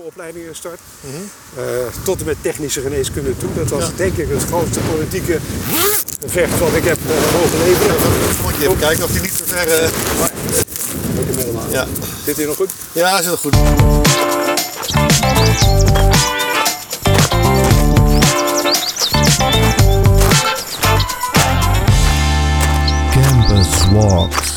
opleidingen gestart. Mhm. Eh, tot en met technische geneeskunde toe. Dat was denk ik het grootste politieke gevecht wat ik heb eh, mogen leveren. Moet je even kijken of die niet te ver... eh, Moet je middel aan. ja. Zit hier nog goed? ja, is heel goed. Campus Walks.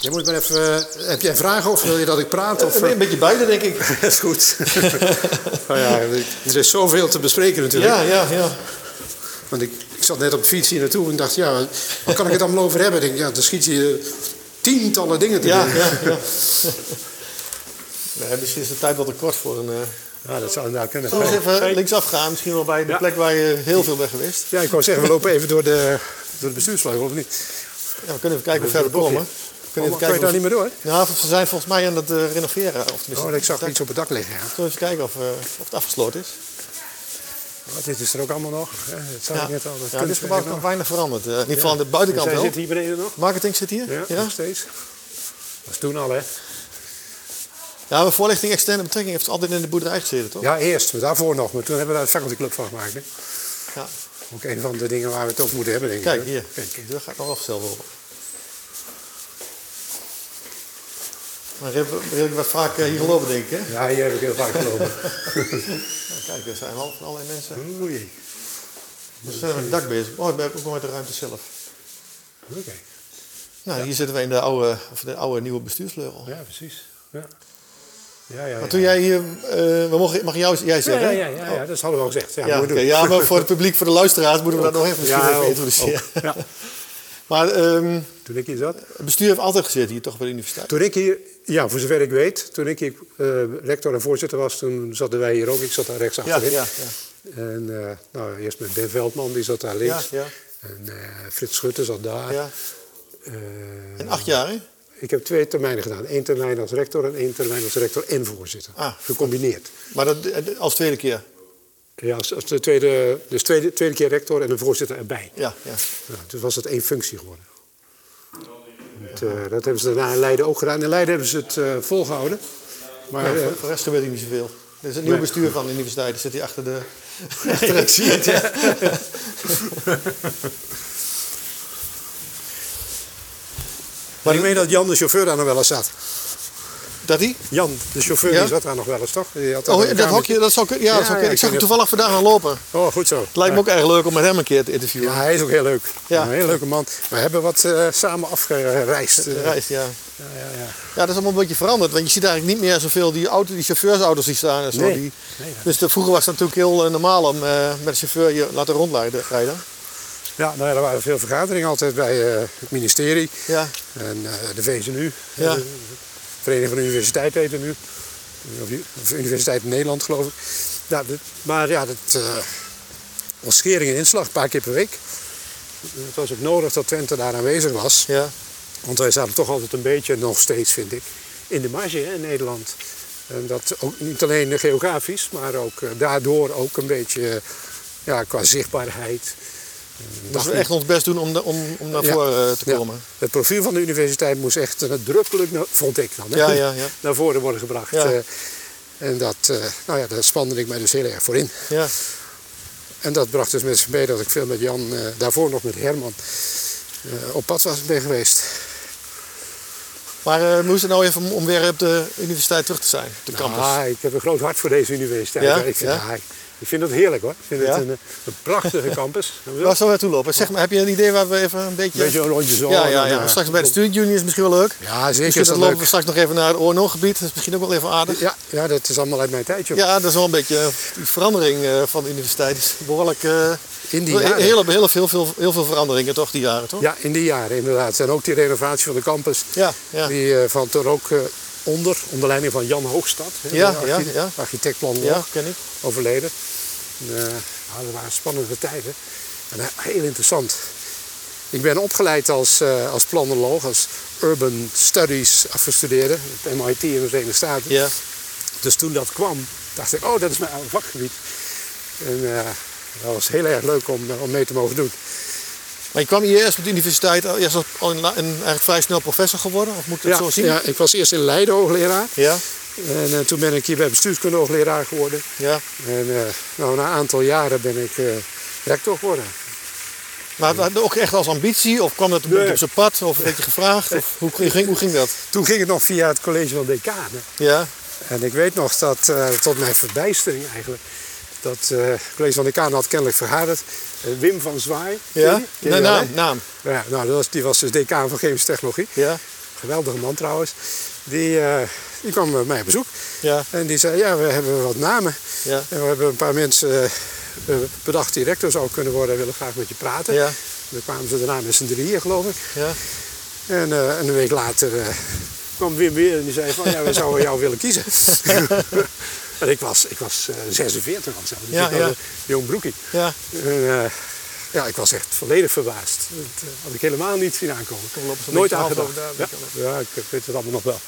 Je moet maar even. eh, heb jij vragen of wil je dat ik praat? Of, Een beetje beide, denk ik. Dat is goed. Oh nou ja, er is zoveel te bespreken natuurlijk. Ja, ja, ja. Want ik, ik zat net op de fiets hier naartoe en dacht, ja, waar kan ik het allemaal over hebben? Ik denk, ja, dan schiet je eh, tientallen dingen te Ja, doen. ja, ja. Nee, misschien is de tijd wel te kort voor een... eh, Ja, dat zou inderdaad kunnen. Zullen we eens even linksaf gaan? Misschien wel bij de Ja. plek waar je heel veel bent geweest. Ja, ik wou zeggen, we lopen even door de, door de bestuursvleugel, of niet? Ja, we kunnen even kijken hoe ver we bochtje. Oh, komen. We Kan kunnen je, even kijken daar of... niet meer door? Nou, ze zijn volgens mij aan het eh, renoveren. Of tenminste, Oh, ik zag Zullen iets op het dak liggen. Ja. we even kijken of, eh, of het afgesloten is? Maar Oh, dit is er ook allemaal nog. hè. Het zou Ja, ik net al. ja dit gebouw is nog weinig veranderd. eh, in ieder geval aan de buitenkant nou. Zij wel. zit hier beneden nog? Marketing zit hier? Ja, ja? nog steeds. Dat is toen al, hè? Ja, maar voorlichting externe betrekking heeft altijd in de boerderij gezeten, toch? Ja, eerst, maar daarvoor nog. Maar toen hebben we daar het facultyclub van gemaakt. Hè? Ja. Ook een van de dingen waar we het over moeten hebben, denk ik. Kijk, hè. hier. De deur gaat nog afgesteld worden. Maar redelijk wat vaak eh, hier gelopen, denk ik, hè? Ja, hier heb ik heel vaak gelopen. Nou, kijk, er zijn al van allerlei mensen. Oei. We zijn met het dak bezig. Oh, ik ben ook nog met de ruimte zelf. Oké. Nou, hier zitten we in de oude, of de oude nieuwe bestuursvleugel. Ja, precies. Ja, ja, ja. Maar toen jij hier... eh, we mogen, mag jou, jij Ja, ja, zeggen? hè? ja, ja, ja, dat hadden we al gezegd. Ja, Ja, moeten we oké. doen. Oh. ja, maar voor het publiek, voor de luisteraars, moeten we dat nog even, misschien Ja, oh. even ook, introduceren. ook. Ja. Maar ehm, Toen ik hier zat. het bestuur heeft altijd gezeten hier toch bij de universiteit? Toen ik hier, ja, voor zover ik weet, toen ik hier eh, rector en voorzitter was, toen zaten wij hier ook. Ik zat daar rechts achterin. En eh, nou, eerst met Ben Veldman, die zat daar links. Ja, ja. En eh, Frits Schutte zat daar. ja. Eh, En acht jaar, hè? ik heb twee termijnen gedaan. Eén termijn als rector en één termijn als rector en voorzitter. Ah. Gecombineerd. Maar dat, eh, als tweede keer? Ja, als, als de tweede, dus tweede, tweede keer rector en een voorzitter erbij. Ja, ja. Ja, toen was het één functie geworden. Het, eh, dat hebben ze daarna in Leiden ook gedaan. In Leiden hebben ze het eh, volgehouden. Maar eh, Voor voor de rest gebeurt hier niet zoveel. Er is een nieuw Nee. bestuur van de universiteit, die zit hier achter de... achter het zie je het, ja. Maar ik meen dat Jan de chauffeur daar nog wel eens zat. Dat die? Jan, de chauffeur, Ja? die zat daar nog wel eens, toch? Die had daar Oh, een dat kamer- hokje, dat zou kunnen. Ja, dat zou Ja, ja, kunnen. Ik ik zag ken hem toevallig vandaag gaan lopen. Het Oh, goed zo. lijkt me ook erg leuk om met hem een keer te interviewen. Ja, hij is ook heel leuk. Ja. Een heel leuke man. We hebben wat eh, samen afgereisd. De eh. reis, ja. ja, ja, ja. Ja, dat is allemaal een beetje veranderd. Want je ziet eigenlijk niet meer zoveel die, auto, die chauffeursauto's die staan en zo. Nee. Die, Nee, dat- dus de, vroeger was het natuurlijk heel eh, normaal om eh, met een chauffeur je laten rondrijden. rijden. Ja, nou ja, er waren veel vergaderingen altijd bij eh, het ministerie Ja, en eh, de VZNU. Ja. eh, de Vereniging van de Universiteit heet het nu. Of die- Of Universiteit Nederland, geloof ik. Ja, dat- maar ja, dat eh was schering en inslag, een paar keer per week. Het was ook nodig dat Twente daar aanwezig was. ja. Want wij zaten toch altijd een beetje, nog steeds vind ik, in de marge hè, in Nederland. En dat ook niet alleen geografisch, maar ook eh, daardoor ook een beetje eh, ja, qua zichtbaarheid. Dus we echt ons best doen om, de- om, om naar Ja. voren eh, te Ja. komen. Het profiel van de universiteit moest echt nadrukkelijk, naar- vond ik dan, hè, Ja, ja, ja. naar voren worden gebracht. Ja. Eh, en dat, eh, nou ja, daar spande ik mij dus heel erg voor in. Ja. En dat bracht dus met zich mee dat ik veel met Jan, eh, daarvoor nog met Herman, eh, op pad was ben geweest. Maar eh, hoe is het nou even om- om weer op de universiteit terug te zijn? Op de campus. Ah, ik heb een groot hart voor deze universiteit. Ja? Ik, vind, Ja? ah, ik- ik vind dat heerlijk hoor. Ik vind Ja? het een, eh, een prachtige campus. Waar Een zullen we naartoe lopen? Zeg maar, heb je een idee waar we even een beetje... beetje een rondje zo. ja, ja, en, ja. eh, Maar straks bij de studentunie is misschien wel leuk. Ja, zeker Misschien is dan dat lopen we leuk. straks nog even naar het ONO-gebied. Dat is misschien ook wel even aardig. Ja, ja, dat is allemaal uit mijn tijd joh. Ja, dat is wel een beetje eh, die verandering eh, van de universiteit. is behoorlijk. eh, In die wel- jaren. Heel, heel, veel, veel, heel veel veranderingen toch die jaren, toch? Ja, in die jaren inderdaad. En ook die renovatie van de campus. Ja, ja. Die eh, van toen ook eh, onder, onder leiding van Jan Hoogstad. hè, Ja, de archi- ja, ja. Architect planoloog, Ja, ken ik. overleden. En, eh, nou, dat waren spannende tijden. En eh, heel interessant. Ik ben opgeleid als, eh, als planoloog, als urban studies afgestudeerde. Op MIT in de Verenigde Staten. Ja. Dus toen dat kwam, dacht ik, oh, dat is mijn oude vakgebied. En eh, dat was heel erg leuk om, eh, om mee te mogen doen. Maar je kwam hier eerst op de universiteit, al- eerst als- al in la- en eigenlijk vrij snel professor geworden, of moet ik dat ja, zo zien? ja, ik was eerst in Leiden hoogleraar. Ja. En eh, toen ben ik hier bij bestuurskunde hoogleraar geworden. Ja. En eh, nou, na een aantal jaren ben ik eh, rector geworden. Maar had je ook echt als ambitie? Of kwam dat een beetje Nee. op zijn pad? Of werd je gevraagd? Of hoe, ging, hoe ging dat? Toen ging het nog via het college van decanen. Ja. En ik weet nog dat, eh, tot mijn verbijstering eigenlijk, dat eh, het college van decanen had kennelijk vergaderd. Eh, Wim van Zwaai. ken Ja? je? Ken Nee, je wel, naam. hè? naam. Ja, nou, dat was, die was dus decaan van chemische technologie. Ja. Geweldige man trouwens. Die, eh, die kwam bij mij op bezoek. Ja. En die zei, ja, we hebben wat namen. Ja. En we hebben een paar mensen eh, eh, bedacht die rector zou kunnen worden en willen graag met je praten. Ja. Dan kwamen ze daarna met z'n drieën, geloof ik. Ja. En, eh, en een week later eh, kwam Wim weer en die zei van, ja, we zouden jou willen kiezen. en ik was, ik was eh, 46 of zo. Dus Ja, ik was ja. een jong broekie. Ja. En, eh, ja, ik was echt volledig verbaasd. Dat eh, had ik helemaal niet zien aankomen. Toen lopen ze een Nooit beetje aan half gedacht. over Ja, daar, ja, ik weet het allemaal nog wel.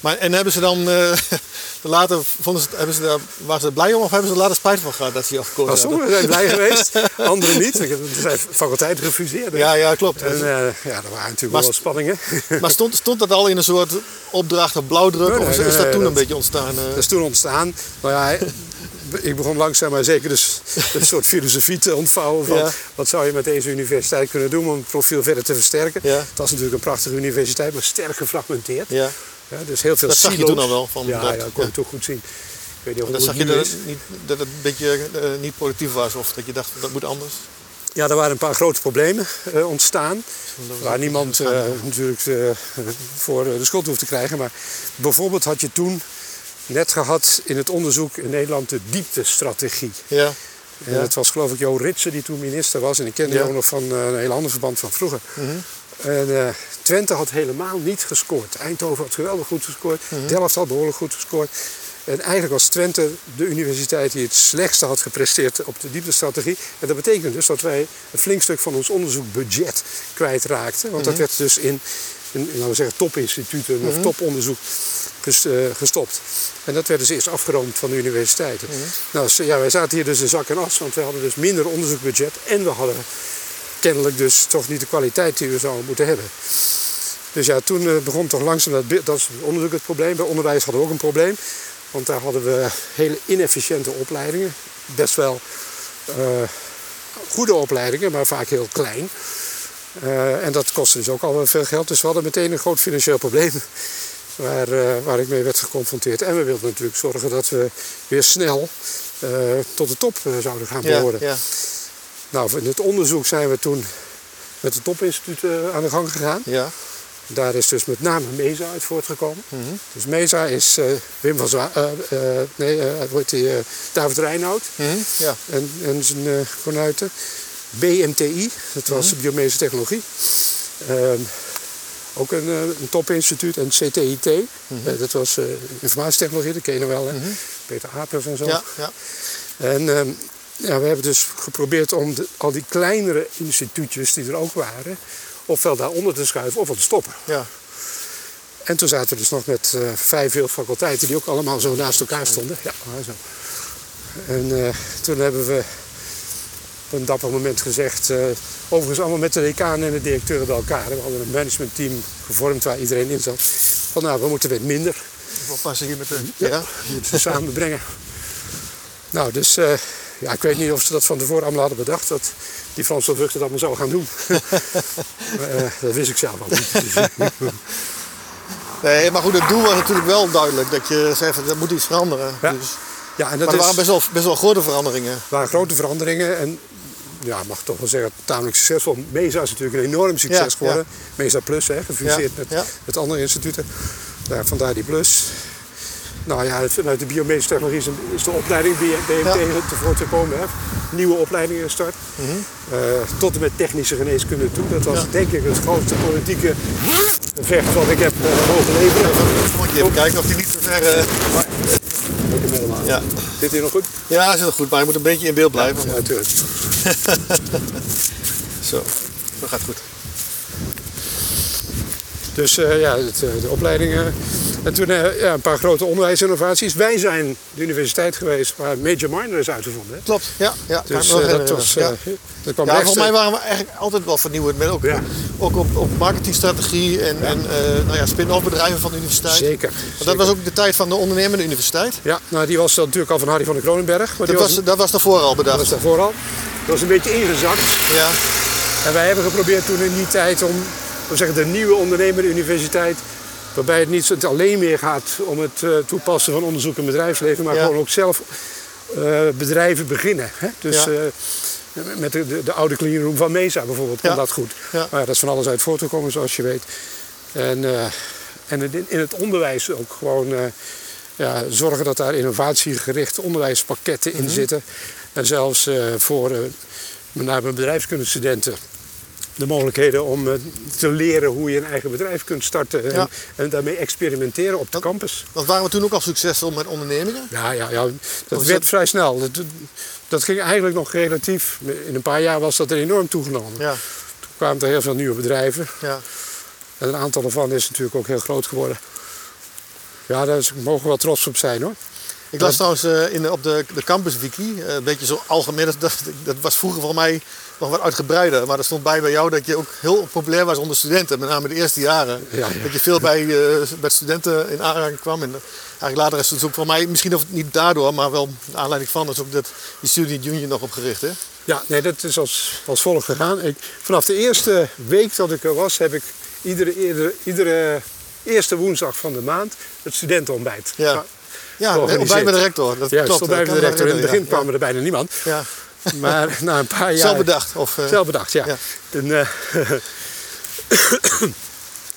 Maar, en hebben ze dan eh, later, vonden ze, het- hebben ze daar, waren ze er blij om of hebben ze er later spijt van gehad dat ze je afgekozen Nou, hadden? sommigen zijn blij geweest, anderen niet. Er zijn faculteiten gefuseerd. hè. Ja, ja, klopt. En eh, ja, er waren natuurlijk wel Maar st- spanningen. Maar stond, stond dat al in een soort opdracht of blauwdruk? Nee, nee, of is, is nee, dat toen dat- een beetje ontstaan? eh? Dat is toen ontstaan. Nou ja, ik begon langzaam maar zeker dus een soort filosofie te ontvouwen van Ja. wat zou je met deze universiteit kunnen doen om het profiel verder te versterken. Ja. Het was natuurlijk een prachtige universiteit, maar sterk gefragmenteerd. ja. Ja, dus heel veel Dat zag je silo's. toen al wel, van ja, dat- ja, dat kon ja. ik toch goed zien. Ik weet niet of Dan het zag je nu dat is. het, niet, dat het een beetje eh, niet productief was of dat je dacht dat moet anders. Ja, er waren een paar grote problemen eh, ontstaan. Waar niemand eh, natuurlijk eh, voor eh, de schuld hoeft te krijgen. Maar bijvoorbeeld had je toen net gehad in het onderzoek in Nederland de dieptestrategie. Ja, En dat was geloof ik Jo Ritsen die toen minister was. En ik kende Ja. jou nog van eh, een heel ander verband van vroeger. En eh, Twente had helemaal niet gescoord. Eindhoven had geweldig goed gescoord. Delft had behoorlijk goed gescoord. En eigenlijk was Twente de universiteit die het slechtste had gepresteerd op de dieptestrategie. En dat betekent dus dat wij een flink stuk van ons onderzoekbudget kwijtraakten. Want dat werd dus in, in, in, laten we zeggen, topinstituten of toponderzoek ges- eh, gestopt. En dat werd dus eerst afgeroomd van de universiteiten. Nou, ze- ja, wij zaten hier dus in zak en as, want we hadden dus minder onderzoekbudget. En we hadden kennelijk dus toch niet de kwaliteit die we zouden moeten hebben. Dus ja, toen eh, begon toch langzaam dat, beeld- dat is onderzoek het probleem. Bij onderwijs hadden we ook een probleem. Want daar hadden we hele inefficiënte opleidingen. Best wel eh, goede opleidingen, maar vaak heel klein. Eh, en dat kostte dus ook al wel veel geld. Dus we hadden meteen een groot financieel probleem waar, eh, waar ik mee werd geconfronteerd. En we wilden natuurlijk zorgen dat we weer snel eh, tot de top eh, zouden gaan ja, behoren. ja, Nou, in het onderzoek zijn we toen met het topinstituut eh, aan de gang gegaan. ja. Daar is dus met name Mesa uit voortgekomen. Dus Mesa is eh, Wim van Zwa... eh, eh, nee, eh, hoe heet die, eh, David Reinoud Mhm, ja. en, en zijn eh, konuiten. BMTI, dat was biomedische technologie. Ehm, ook een, eh, een topinstituut. En CTIT, eh, dat was eh, informatietechnologie, dat kennen we wel. hè. Peter Apers en zo. ja, ja. En ehm, ja, we hebben dus geprobeerd om de- al die kleinere instituutjes die er ook waren... ofwel daaronder te schuiven ofwel te stoppen. ja. En toen zaten we dus nog met eh, vijf heel faculteiten die ook allemaal zo naast elkaar stonden. Ja, maar zo. En eh, toen hebben we op een dapper moment gezegd, eh, overigens allemaal met de decaan en de directeuren bij elkaar. We hadden een managementteam gevormd waar iedereen in zat. Van nou, we moeten weer minder. Wat passen hier met de... Ja, We moeten ze samenbrengen. Nou, dus eh, ja, ik weet niet of ze dat van tevoren allemaal hadden bedacht. Dat die Frans van Vught het allemaal zou gaan doen. Maar, eh, dat wist ik zelf al niet. Nee, maar goed, het doel was natuurlijk wel duidelijk. Dat je zei, van, er moet iets veranderen. Ja. Dus, ja, en dat maar er is... waren best wel, best wel grote veranderingen. waren grote veranderingen en ja, mag toch wel zeggen, tamelijk succesvol. MESA is natuurlijk een enorm succes Ja, geworden. MESA Plus, hè, gefuseerd Ja, met, ja. met andere instituten. Nou, vandaar die plus. Nou ja, het- vanuit de biomedische technologie is een- is de opleiding BM- BMT te voort gekomen. Hè. Nieuwe opleidingen gestart. Eh, tot en met technische geneeskunde toe. Dat was Mhm. Ja. denk ik het grootste politieke gevecht wat ik heb eh, mogen leveren. Moet je even kijken of die niet te ver... eh, Ik heb helemaal- ja. Zit hier nog goed? ja, zit wel goed. Maar je moet een beetje in beeld blijven. Ja, natuurlijk. Zo, dat gaat goed. Dus eh, ja, het, eh, de opleidingen. En toen eh, ja, een paar grote onderwijsinnovaties. Wij zijn de universiteit geweest waar Major Minor is uitgevonden. hè. Klopt, ja. ja kan ik Dus me wel eh, dat herinneren, was. ja. eh dat kwam eh, Ja, rechtstreeks- volgens mij waren we eigenlijk altijd wel vernieuwend. Met ook, Ja. ook op, op marketingstrategie en, en eh, nou ja, spin-off bedrijven van de universiteit. Zeker. Want dat zeker. was ook de tijd van de ondernemende universiteit. Ja, nou, die was dan natuurlijk al van Harry van der Kronenberg. Maar Dat die was, was, dat was daarvoor al dat was bedacht. daarvoor al. Dat was een beetje ingezakt. Ja. En wij hebben geprobeerd toen in die tijd om, we zeggen, de nieuwe ondernemeruniversiteit, waarbij het niet zo- het alleen meer gaat om het eh, toepassen van onderzoek in bedrijfsleven, maar Ja. gewoon ook zelf eh, bedrijven beginnen. Hè? Dus Ja. eh, met de, de, de oude cleanroom van Mesa bijvoorbeeld kon Ja. dat goed. Ja. Maar ja, dat is van alles uit voortgekomen, zoals je weet. En, eh, en het in- in het onderwijs ook gewoon eh, ja, zorgen dat daar innovatiegerichte onderwijspakketten Mhm. in zitten. En zelfs eh, voor eh, met name bedrijfskundestudenten de mogelijkheden om eh, te leren hoe je een eigen bedrijf kunt starten. En, Ja. en daarmee experimenteren op de campus. Want waren we toen ook al succesvol met ondernemingen? Ja, ja, ja. dat Oh, is werd dat- vrij snel. Dat, dat ging eigenlijk nog relatief. In een paar jaar was dat er enorm toegenomen. Ja. Toen kwamen er heel veel nieuwe bedrijven. ja. En een aantal daarvan is natuurlijk ook heel groot geworden. Ja, daar is- mogen we wel trots op zijn hoor. Ik las trouwens eh, in, op de, de Campus Wiki, eh, een beetje zo algemeen, dat, dat was vroeger voor mij nog wat uitgebreider. Maar er stond bij bij jou dat je ook heel populair was onder studenten, met name de eerste jaren. Ja, ja. Dat je veel bij, eh, met studenten in aanraking kwam. En eh, eigenlijk later is het dus ook voor mij, misschien of het niet daardoor, maar wel de aanleiding van, is ook dat die student union nog opgericht. Hè? Ja, nee, dat is als, als volgt gegaan. Ik, vanaf de eerste week dat ik er was, heb ik iedere, iedere, iedere eerste woensdag van de maand het studentenontbijt. Ja, ja Georganiseerd. ontbijt met de rector. Dat Ja, klopt. stond bij dat de kan ik rector. me In het begin herinneren, kwam er bijna niemand. Ja. Ja. Maar na een paar jaar... Zelf bedacht. Of, eh, Zelf bedacht, ja. ja. En, eh,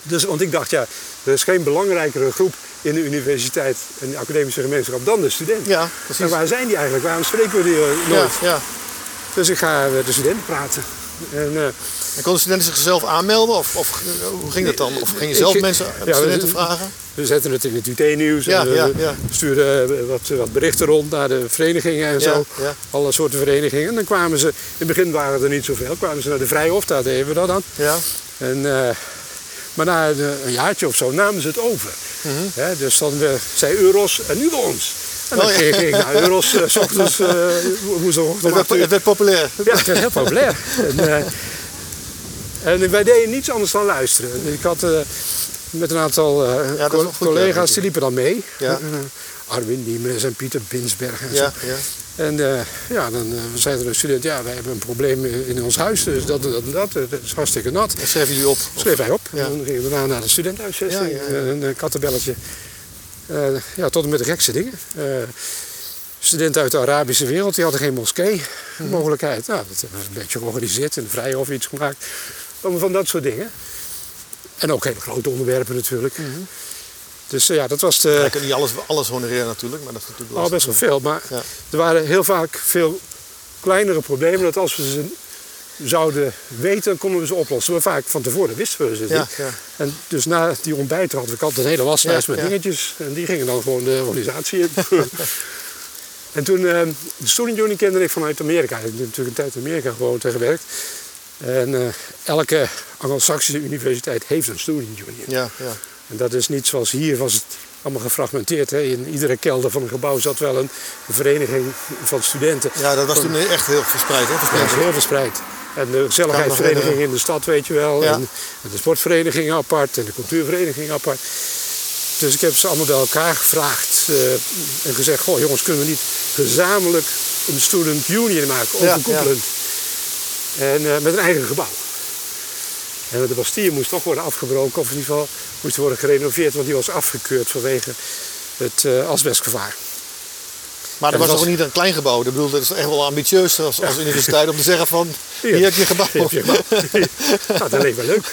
dus, want ik dacht, ja, er is geen belangrijkere groep in de universiteit en de academische gemeenschap dan de student. Ja, precies. En waar zijn die eigenlijk? Waarom spreken we die eh, ja, nooit? ja. Dus ik ga eh, met de studenten praten. En, eh, En konden studenten zichzelf aanmelden? Of, of eh, hoe ging dat dan? Of ging je zelf Ik- mensen, ja, studenten we- vragen? we zetten het in het UT-nieuws. Ja, en we ja, ja. stuurden eh, wat, wat berichten rond naar de verenigingen en zo. ja. Alle soorten verenigingen. En dan kwamen ze, in het begin waren er niet zoveel, kwamen ze naar de Vrijhof, daar deden we dat aan. Ja, En, eh, maar na een, een jaartje of zo namen ze het over. Mhm. Hè, dus dan eh, zei Euros en nu bij ons. En dan Oh, ja. ging ging ik naar Euros, eh, s ochtends, eh, wo- woensdagochtend om het werd, acht uur. het werd populair. Ja, het werd heel populair. En, eh, en wij deden niets anders dan luisteren. Ik had eh, met een aantal eh, dat is co- wel goed, ja, collega's, natuurlijk. die liepen dan mee. Ja. Eh, Arwin Diemers en Pieter Binsberg en Ja, zo. ja. En eh, ja, dan eh, zei er een student, ja, wij hebben een probleem in in ons huis, dus dat en dat en dat. Het is hartstikke nat. Dat schreef jullie op. Schreef hij op. Ja. En dan gingen we daarna naar de studentenhuisvesting. Ja, ja, ja. Een eh, kattenbelletje. Eh, ja, tot en met de gekste dingen. Eh, studenten uit de Arabische wereld, die hadden geen moskee Mhm. mogelijkheid. Nou, dat hebben we een beetje georganiseerd. In de Vrijhof iets gemaakt. Allemaal van dat soort dingen. En ook hele grote onderwerpen natuurlijk. Mhm. Dus eh, ja, Oh, dat was de... Hij kan niet alles, alles honoreren natuurlijk, maar dat is natuurlijk Al lastig. best wel veel, maar Ja. er waren heel vaak veel kleinere problemen. Dat als we ze zouden weten, konden we ze oplossen. Maar vaak van tevoren wisten we ze Ja, niet. ja. En dus na die ontbijt had ik altijd een hele waslijst Ja, met ja. dingetjes. En die gingen dan gewoon de organisatie in. en toen, eh, de student union kende ik vanuit Amerika. Ik heb natuurlijk een tijd in Amerika gewoond en gewerkt. En eh, elke Anglo-Saxische universiteit heeft een student union. Ja, ja. En dat is niet zoals hier was het allemaal gefragmenteerd. Hè? In iedere kelder van een gebouw zat wel een vereniging van studenten. ja, dat was toen echt heel verspreid. Hè? Ja, verspreid. dat is heel verspreid. En de Kan gezelligheidsvereniging nog, in de stad, weet je wel. Ja. En, en de sportvereniging apart en de cultuurvereniging apart. Dus ik heb ze allemaal bij elkaar gevraagd eh, en gezegd: Goh, jongens, kunnen we niet gezamenlijk een student union maken, Ja, overkoepelend? En eh, met een eigen gebouw. En de Bastille moest toch worden afgebroken, of in ieder geval moest worden gerenoveerd, want die was afgekeurd vanwege het eh, asbestgevaar. Maar dat dat was was- toch niet een klein gebouw? Ik bedoel, dat is echt wel ambitieus als, als universiteit om te zeggen van, hier, heb je gebouw. Hier heb je gebouw. nou, dat leek me leuk.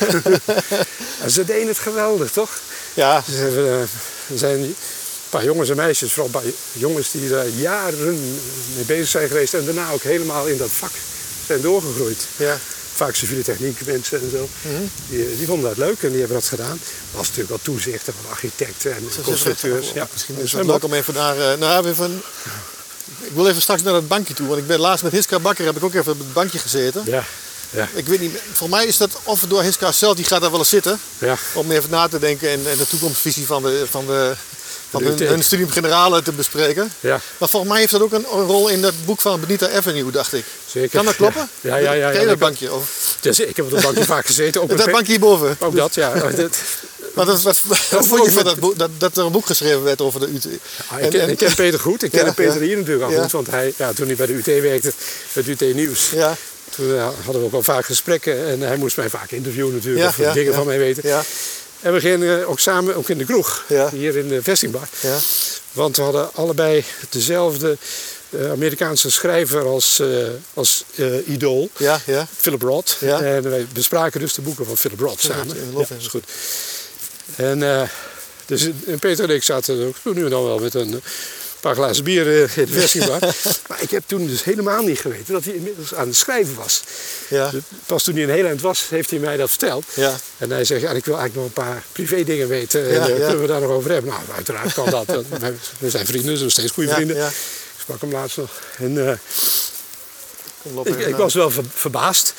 en ze deden het geweldig, toch? Ja, Ze hebben, eh, Er zijn een paar jongens en meisjes, vooral bij jongens die daar jaren mee bezig zijn geweest en daarna ook helemaal in dat vak zijn doorgegroeid. ja. Vaak civiele techniek mensen en zo. Mhm. die, die vonden dat leuk en die hebben dat gedaan. Er was natuurlijk wel toezichten van architecten en constructeurs. Ja, misschien is Dus het een leuk om even naar... eh, nou, even, ik wil even straks naar dat bankje toe, want ik ben laatst met Hiska Bakker heb ik ook even op het bankje gezeten. Ja, Ja. Ik weet niet, volgens mij is dat of door Hiska zelf, die gaat daar wel eens zitten. Ja. Om even na te denken en, en de toekomstvisie van, de, van, de, van De hun, UT. hun studium generale te bespreken. Ja. Maar volgens mij heeft dat ook een, een rol in dat boek van Benita Avenue, dacht ik. Zeker. Kan dat kloppen? Ja, ja, ja. ja, Ken ja, je dat ik- bankje? Of, dus ik heb op dat bankje vaak gezeten. Ook, met dat pe- bankje hierboven. ook dat, ja. Dat- Maar dat, wat, wat vond ook je van met- dat, boek, dat, dat er een boek geschreven werd over de E? UT? Ah, ik, ken, ik ken Peter goed. Ik Ja, ken Peter ja. hier natuurlijk al Ja. goed. Want hij, ja, toen hij bij de UT werkte, het UT Nieuws. Ja, Toen eh, hadden we ook al vaak gesprekken. En hij moest mij vaak interviewen natuurlijk. Ja, of ja, dingen ja. van mij weten. ja, En we gingen eh, ook samen, ook in de kroeg. Ja. Hier in de vestingbar. ja. Want we hadden allebei dezelfde eh, Amerikaanse schrijver als, eh, als eh, idool. ja, ja. Philip Roth. Ja. En wij bespraken dus de boeken van Philip Roth Philip, samen. eh, Roth, is goed. En eh, dus en Peter en ik zaten ook zo nu en dan wel met een eh, paar glazen bier eh, in de vestingbar. maar ik heb toen dus helemaal niet geweten dat hij inmiddels aan het schrijven was. ja. Dus Pas toen hij in Nederland was, heeft hij mij dat verteld. Ja. En hij zegt, ja, ik wil eigenlijk nog een paar privé dingen weten. en, Ja, eh, ja. Kunnen we daar nog over hebben? Nou, uiteraard kan dat. Dat- wij- We zijn vrienden, dus nog steeds goede Ja, vrienden. ja. Ik sprak hem laatst nog. En eh, Kom, loop ik, even ik naar- was wel ver- verbaasd.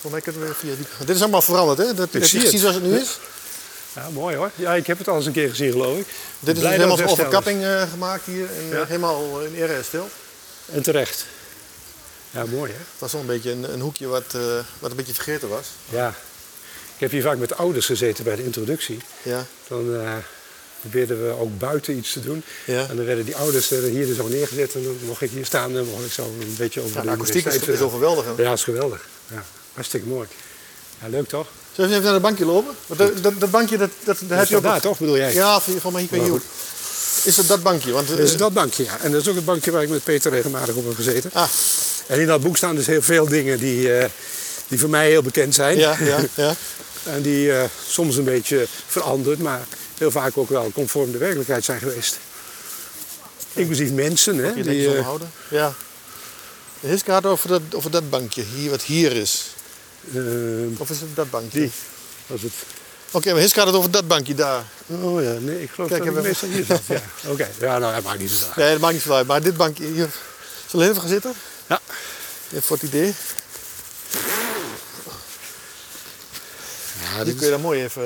Volgens mij kunnen we via die... Dit is allemaal veranderd, hè? Dat, heb je zie het. gezien zoals het nu is? Ja, mooi hoor. Ja, ik heb het al eens een keer gezien, geloof ik. Dit is dus Blij helemaal dat het als hersteld overkapping eh, gemaakt hier en Ja. helemaal in ere hersteld. is. En terecht. Ja, mooi hè. Het was wel een beetje een, een hoekje wat, eh, wat een beetje vergeten was. Ja. Ik heb hier vaak met ouders gezeten bij de introductie. Ja, Dan eh, probeerden we ook buiten iets te doen. Ja. En dan werden die ouders werden hier dus al neergezet. En dan mocht ik hier staan en mocht ik zo een beetje over ja de de akoestiek is, universiteit is overweldigend. vertellen. Ja, is geweldig. Ja, hartstikke mooi. Ja, leuk toch? Zullen we even naar dat bankje lopen? Want dat, dat, dat bankje, dat, dat, dat heb je ook... daar, op- toch, bedoel jij? Ja, of hier- gewoon maar hier kan je Maar hier Is het dat bankje? Want, eh, Dat is dat bankje, ja. En dat is ook het bankje waar ik met Peter regelmatig op heb gezeten. Ah, En in dat boek staan dus heel veel dingen die, eh, die voor mij heel bekend zijn. ja, ja, ja. En die eh, soms een beetje veranderd, maar heel vaak ook wel conform de werkelijkheid zijn geweest. Inclusief mensen, hè? Je die, die, eh, houden. Ja. De Hiske had over dat, over dat bankje, hier, wat hier is. eh, Of is het dat bankje? die. Was het? Oké, maar Hiske had het over dat bankje daar. Oh ja, nee, ik geloof Kijk, dat ik hebben we- meestal hier zat. Ja. Oké, ja, nou, dat maakt niet zo uit. Nee, dat maakt niet veel uit. Maar dit bankje hier. Zullen we even gaan zitten? Ja. Even voor het idee. Ja, Hier dit- kun je dan mooi even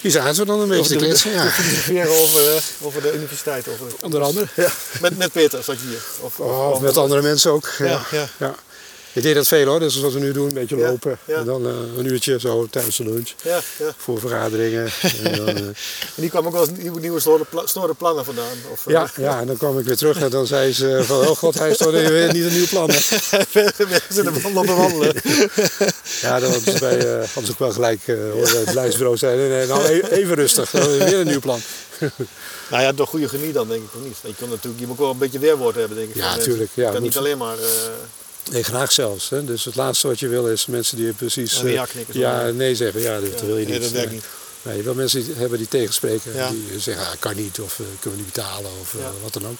hier zaten we dan een beetje te kletsen, ja. filosoferen over, eh, over de universiteit. Over de- Onder andere. Met, met Peter zat je hier. Of, Oh, of met andere mensen ook. Ja, Ja, ja. ja. Ik deed dat veel hoor, dat is wat we nu doen, een beetje Ja, lopen. ja. En dan eh, een uurtje zo tijdens de lunch, Ja, ja. voor vergaderingen. en dan, eh, En die kwam ook wel eens nieuwe, nieuwe snorde, pla- snorde plannen vandaan. Of, eh, Ja, ja, en dan kwam ik weer terug en dan zei ze eh, van, oh god, hij is toch weer niet een nieuw plan. hè? we zitten wel lopen wandelen. Ja, dan hadden ze, bij, eh, hadden ze ook wel gelijk eh hoor, bij het beleidsbureau zei, nee, nee, nou e- even rustig, dan hebben we weer een nieuw plan. Nou ja, door goede genie dan denk ik nog niet. Je, kon natuurlijk, je moet ook wel een beetje weerwoord hebben denk ik. Ja, van mensen. tuurlijk, ja, Je kan moet niet je- alleen maar... eh, Nee, graag zelfs. Hè. Dus het laatste wat je wil is mensen die precies En die eh, ja knikken, ja, zo. nee zeggen. Ja, dat wil je nee, niet. dat werkt Nee. niet. Nee, je wil mensen die- hebben die tegenspreken. Ja. Die eh, zeggen, ah, kan niet of eh, kunnen we niet betalen of eh, Ja. wat dan ook.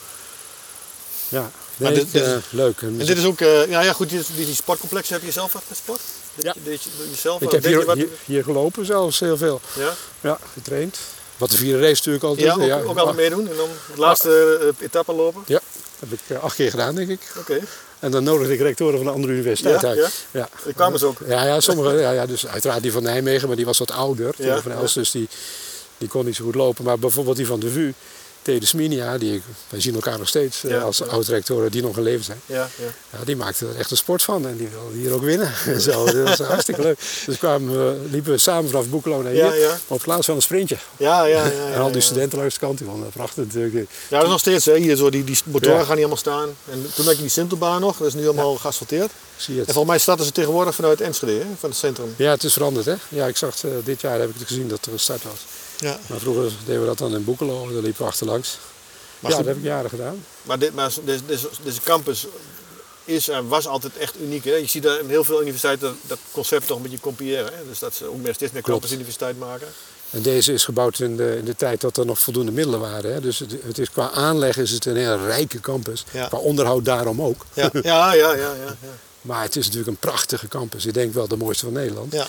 Ja, Maar nee, dit- dit- eh, leuk. En En dit is ook... eh, ja, ja, goed, dit, dit, die sportcomplex heb je zelf wat gesport? Dit- Ja. Dit, je- jezelf, ik wat- heb deed je hier, wat- hier, hier gelopen zelfs heel veel. Ja? Ja, getraind. Wat de vierde race natuurlijk altijd. Ja, ook, ja, ook altijd meedoen en dan de laatste eh, etappe lopen. Ja, heb ik eh, acht keer gedaan, denk ik. Oké. En dan nodigde ik rectoren van een andere universiteit Ja, uit. ja. Ja. Die kwamen ze ook. Ja, ja, sommige, ja, ja, dus uiteraard die van Nijmegen, maar die was wat ouder. Die Ja, van ja. Els, dus die, die kon niet zo goed lopen. Maar bijvoorbeeld die van de VU, Tede Sminia, die, ik- wij zien elkaar nog steeds eh, Ja, als ja. oud-rectoren die nog in leven zijn. Ja, ja. Ja, die maakte er echt een sport van en die wilde hier ook winnen. En zo, dat was hartstikke leuk. Dus kwamen we, liepen we samen vanaf Boekelo naar hier, Ja, ja. op plaats van een sprintje. Ja, ja, ja. ja, en al die ja. studenten langs de kant, die vonden dat prachtig natuurlijk. Ja, dat is nog steeds, hè. Hier, zo, die, die motoren Ja. gaan niet allemaal staan. En toen had je die Sintelbaan nog, dat is nu allemaal geasfalteerd. En Zie je het. volgens mij starten ze tegenwoordig vanuit Enschede, hè, van het centrum. Ja, het is veranderd hè. Ja, ik zag het, eh, dit jaar heb ik het gezien dat er een start was. Ja. Maar vroeger deden we dat dan in Boekelo, daar liepen we achterlangs. Maar ja, goed. dat heb ik jaren gedaan. Maar, dit, maar deze, deze, deze campus is en was altijd echt uniek. Hè? Je ziet daar in heel veel universiteiten dat, dat concept toch een beetje kopiëren. Hè? Dus dat ze ook meer, steeds meer Klopt. campusuniversiteit maken. En deze is gebouwd in de, in de tijd dat er nog voldoende middelen waren. Hè? Dus het, het is, qua aanleg is het een heel rijke campus. Ja. Qua onderhoud daarom ook. Ja, ja, ja, ja. ja, ja. Maar het is natuurlijk een prachtige campus. Ik denk wel de mooiste van Nederland. ja.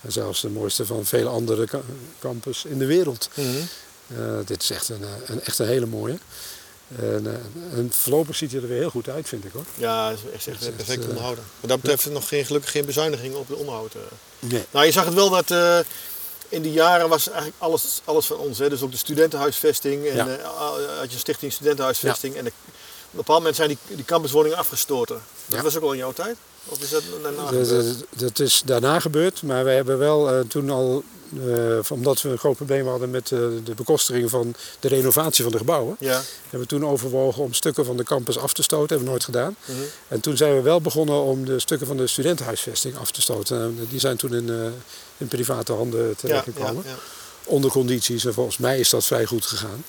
En zelfs de mooiste van vele andere ca- campus in de wereld. Mhm. Eh, dit is echt een, eh, een, echt een hele mooie. En, eh, en voorlopig ziet hij er weer heel goed uit, vind ik hoor. Ja, dat is echt, echt echt, perfect eh, onderhouden. Wat dat betreft nog geen, gelukkig geen bezuinigingen op de onderhoud. eh. Nee. Nou, je zag het wel dat eh, in die jaren was eigenlijk alles, alles van ons. Hè? Dus ook de studentenhuisvesting en Ja. eh, had je stichting studentenhuisvesting. En de, op een bepaald moment zijn die, die campuswoningen afgestoten. Dat Ja. was ook al in jouw tijd? Of is dat daarna Dat, gebeurd? dat- dat is eh, daarna gebeurd, maar wij hebben wel eh, toen al, eh, omdat we een groot probleem hadden met eh, de bekostering van de renovatie van de gebouwen, Ja, hebben we toen overwogen om stukken van de campus af te stoten. Hebben we nooit gedaan. Mhm. En toen zijn we wel begonnen om de stukken van de studentenhuisvesting af te stoten. En die zijn toen in, eh, in private handen ja, terechtgekomen. ja, ja. Onder condities. En volgens mij is dat vrij goed gegaan.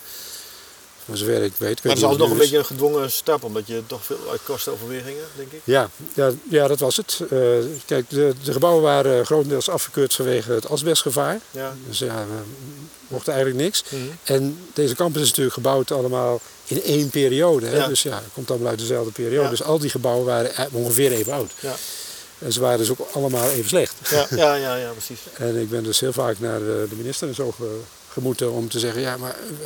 Maar zover ik weet. ik Maar weet het was niet nog hoe een het nu beetje een gedwongen stap, omdat je toch veel uit kostenoverwegingen, denk ik. is. Ja, ja, ja, dat was het. Eh, kijk, de, de gebouwen waren grotendeels afgekeurd vanwege het asbestgevaar. Ja. Dus ja, we mochten eigenlijk niks. Mhm. En deze campus is natuurlijk gebouwd allemaal in één periode. Hè? Ja. Dus ja, het komt allemaal uit dezelfde periode. Ja. Dus al die gebouwen waren eh, ongeveer even oud. Ja. En ze waren dus ook allemaal even slecht. Ja, ja, ja, ja, precies. En ik ben dus heel vaak naar eh, de minister en zo ge- gemoeten om te zeggen... ja, maar eh,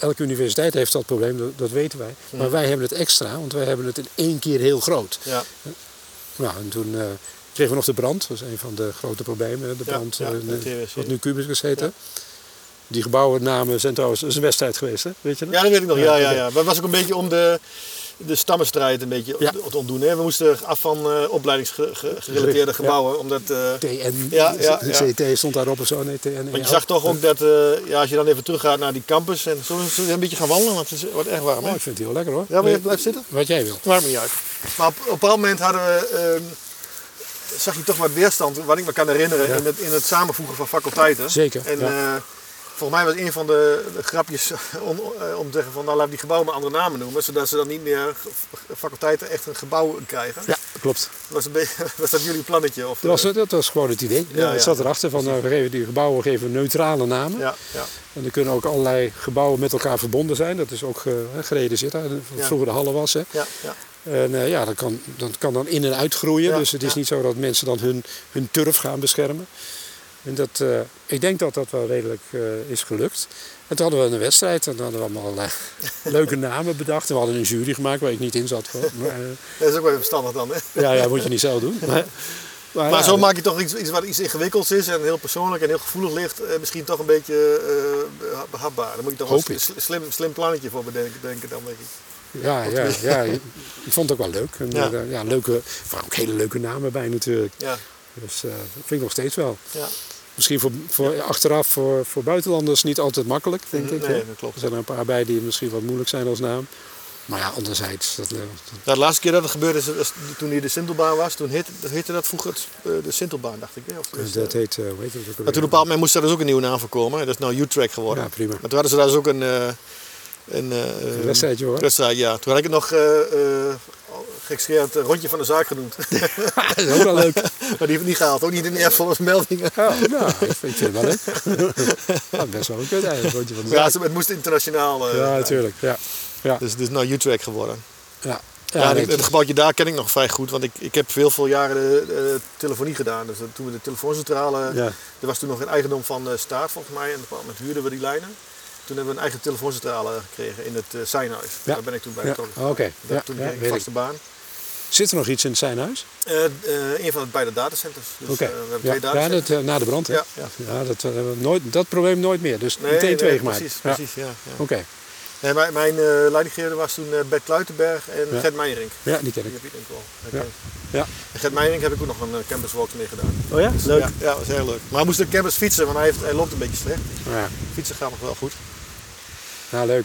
elke universiteit heeft dat probleem, dat, dat weten wij. Mhm. Maar wij hebben het extra, want wij hebben het in één keer heel groot. Ja, Nou, en toen eh, kregen we nog de brand. Dat is een van de grote problemen. De Ja, brand ja, eh, de eh, TWC. wat nu Cubicus heette. Die gebouwennamen zijn trouwens... Dat is een wedstrijd geweest, hè? Weet je dat? ja dat weet ik nog. Ja, Ja, ja, oké. ja. Maar het was ook een beetje om de, de stammenstrijd een beetje Ja. te ontdoen. Hè? We moesten af van eh, opleidingsgerelateerde Ja. gebouwen, omdat... eh, TN, Ja, ja, ja. CT stond daarop of zo. Nee, TN. Want je zag toch ook dat, eh, ja, als je dan even teruggaat naar die campus en zo een beetje gaan wandelen, want het is- wordt echt warm. Hè? Oh, ik vind het heel lekker hoor. Ja, maar je Nee, blijft zitten? Wat jij wil. Warm niet uit. Maar op, op een bepaald moment hadden we, ehm, zag je toch wat weerstand, wat ik me kan herinneren, Ja. in, het, in het samenvoegen van faculteiten. Zeker, En ja. eh, volgens mij was een van de, de grapjes om, eh, om te zeggen van, nou laat die gebouwen maar andere namen noemen, zodat ze dan niet meer ge- faculteiten echt een gebouw krijgen. Ja, klopt. Was, een beetje- was dat jullie plannetje? Of, Dat was, eh, dat was gewoon het idee. Ja, Ja, het ja. zat erachter van eh, we geven die gebouwen geven neutrale namen. Ja, ja, En er kunnen ook allerlei gebouwen met elkaar verbonden zijn. Dat is ook eh, gereden zit daar, wat Ja. vroeger de Halle was. Hè. ja, ja. En eh, ja, dat kan, dat kan dan in en uitgroeien. Ja, dus het is ja. niet zo dat mensen dan hun, hun turf gaan beschermen. En dat, eh, ik denk dat dat wel redelijk eh, is gelukt. En toen hadden we een wedstrijd en toen hadden we allemaal eh, leuke namen bedacht. En we hadden een jury gemaakt waar ik niet in zat. gewoon. Maar, eh, Dat is ook wel even verstandig dan, hè? ja, ja, moet je niet zelf doen. Maar, maar Maar ja, zo maak je toch iets, iets wat iets ingewikkelds is en heel persoonlijk en heel gevoelig ligt, eh, misschien toch een beetje eh, behapbaar. Daar moet je toch Hoop wel een ik. sl- slim, slim plannetje voor bedenken, denken dan denk ik. Ja, ja, ja, ik ik vond het ook wel leuk. En, Ja. ja. ja, leuke, er waren ook hele leuke namen bij natuurlijk. Ja, Dus eh, dat vind ik nog steeds wel. ja. Misschien voor, voor achteraf voor, voor buitenlanders niet altijd makkelijk, denk Mhm, ik. nee, hè. dat klopt. Er zijn er een paar bij die misschien wat moeilijk zijn als naam. Maar ja, anderzijds, dat, eh, dat- Nou, de laatste keer dat het gebeurde is, was toen hier de Sintelbaan was, toen heette, dat heette dat vroeger het, eh, de Sintelbaan, dacht ik. Hè? Of, dus, dat eh, heet, eh, hoe heet het ook alweer? maar toen op een bepaald moment moest daar dus ook een nieuwe naam voor komen. hè. Dat is nou U-Track geworden. Ja, prima. Maar toen hadden ze daar dus ook een, eh, een, eh, Een wedstrijdje hoor. wedstrijd, ja. Toen had ik het nog eh eh gekscherend eh, rondje van de zaak genoemd. dat is ook wel leuk. maar die heeft het niet gehaald, ook niet in de eervolle meldingen. Oh, nou, ik vind het wel leuk. Ja, best wel een kut eigenlijk. rondje van de Ja, zaak. ze- het moest internationaal. eh, Ja, natuurlijk. Ja, ja, Dus het is nou U-Track geworden. ja. Ja, Ja, en nee, het, het gebouwtje daar ken ik nog vrij goed, want ik, ik heb veel, veel jaren de, eh, telefonie gedaan. Dus toen we de telefooncentrale, Ja. er was toen nog een eigendom van de staat volgens mij, en op een bepaald moment huurden we die lijnen. Toen hebben we een eigen telefooncentrale gekregen in het eh Seinhuis. Ja. Daar ben ik toen bij Ja, betrokken. oké. gegaan. Daar- Ja, toen ja, kreeg ik weet een ik. vaste baan. Zit er nog iets in het zijnhuis? Eh, eh, een van de beide datacenters. Dus Oké. eh, we hebben Ja, twee ja, datacenters. dat, eh, na de brand, hè? Ja, Ja, ja. dat, eh, hebben we nooit, dat probleem nooit meer. Dus Nee, meteen nee, twee gemaakt. Precies, Ja. precies. Ja. ja. Oké, Nee, mijn mijn eh leidinggevende was toen eh, Bert Kluitenberg en Ja. Gert Meijerink. ja, die ken Die ik. heb je denk ik wel. Ja. herkend. Ja. En Gert Meijerink heb ik ook nog een eh, campuswalk mee gedaan. Oh ja? Ja, ja, dat was heel leuk. Maar hij moest de campus fietsen, want hij, heeft, hij loopt een beetje slecht. Ja, Fietsen gaat nog wel goed. nou, leuk.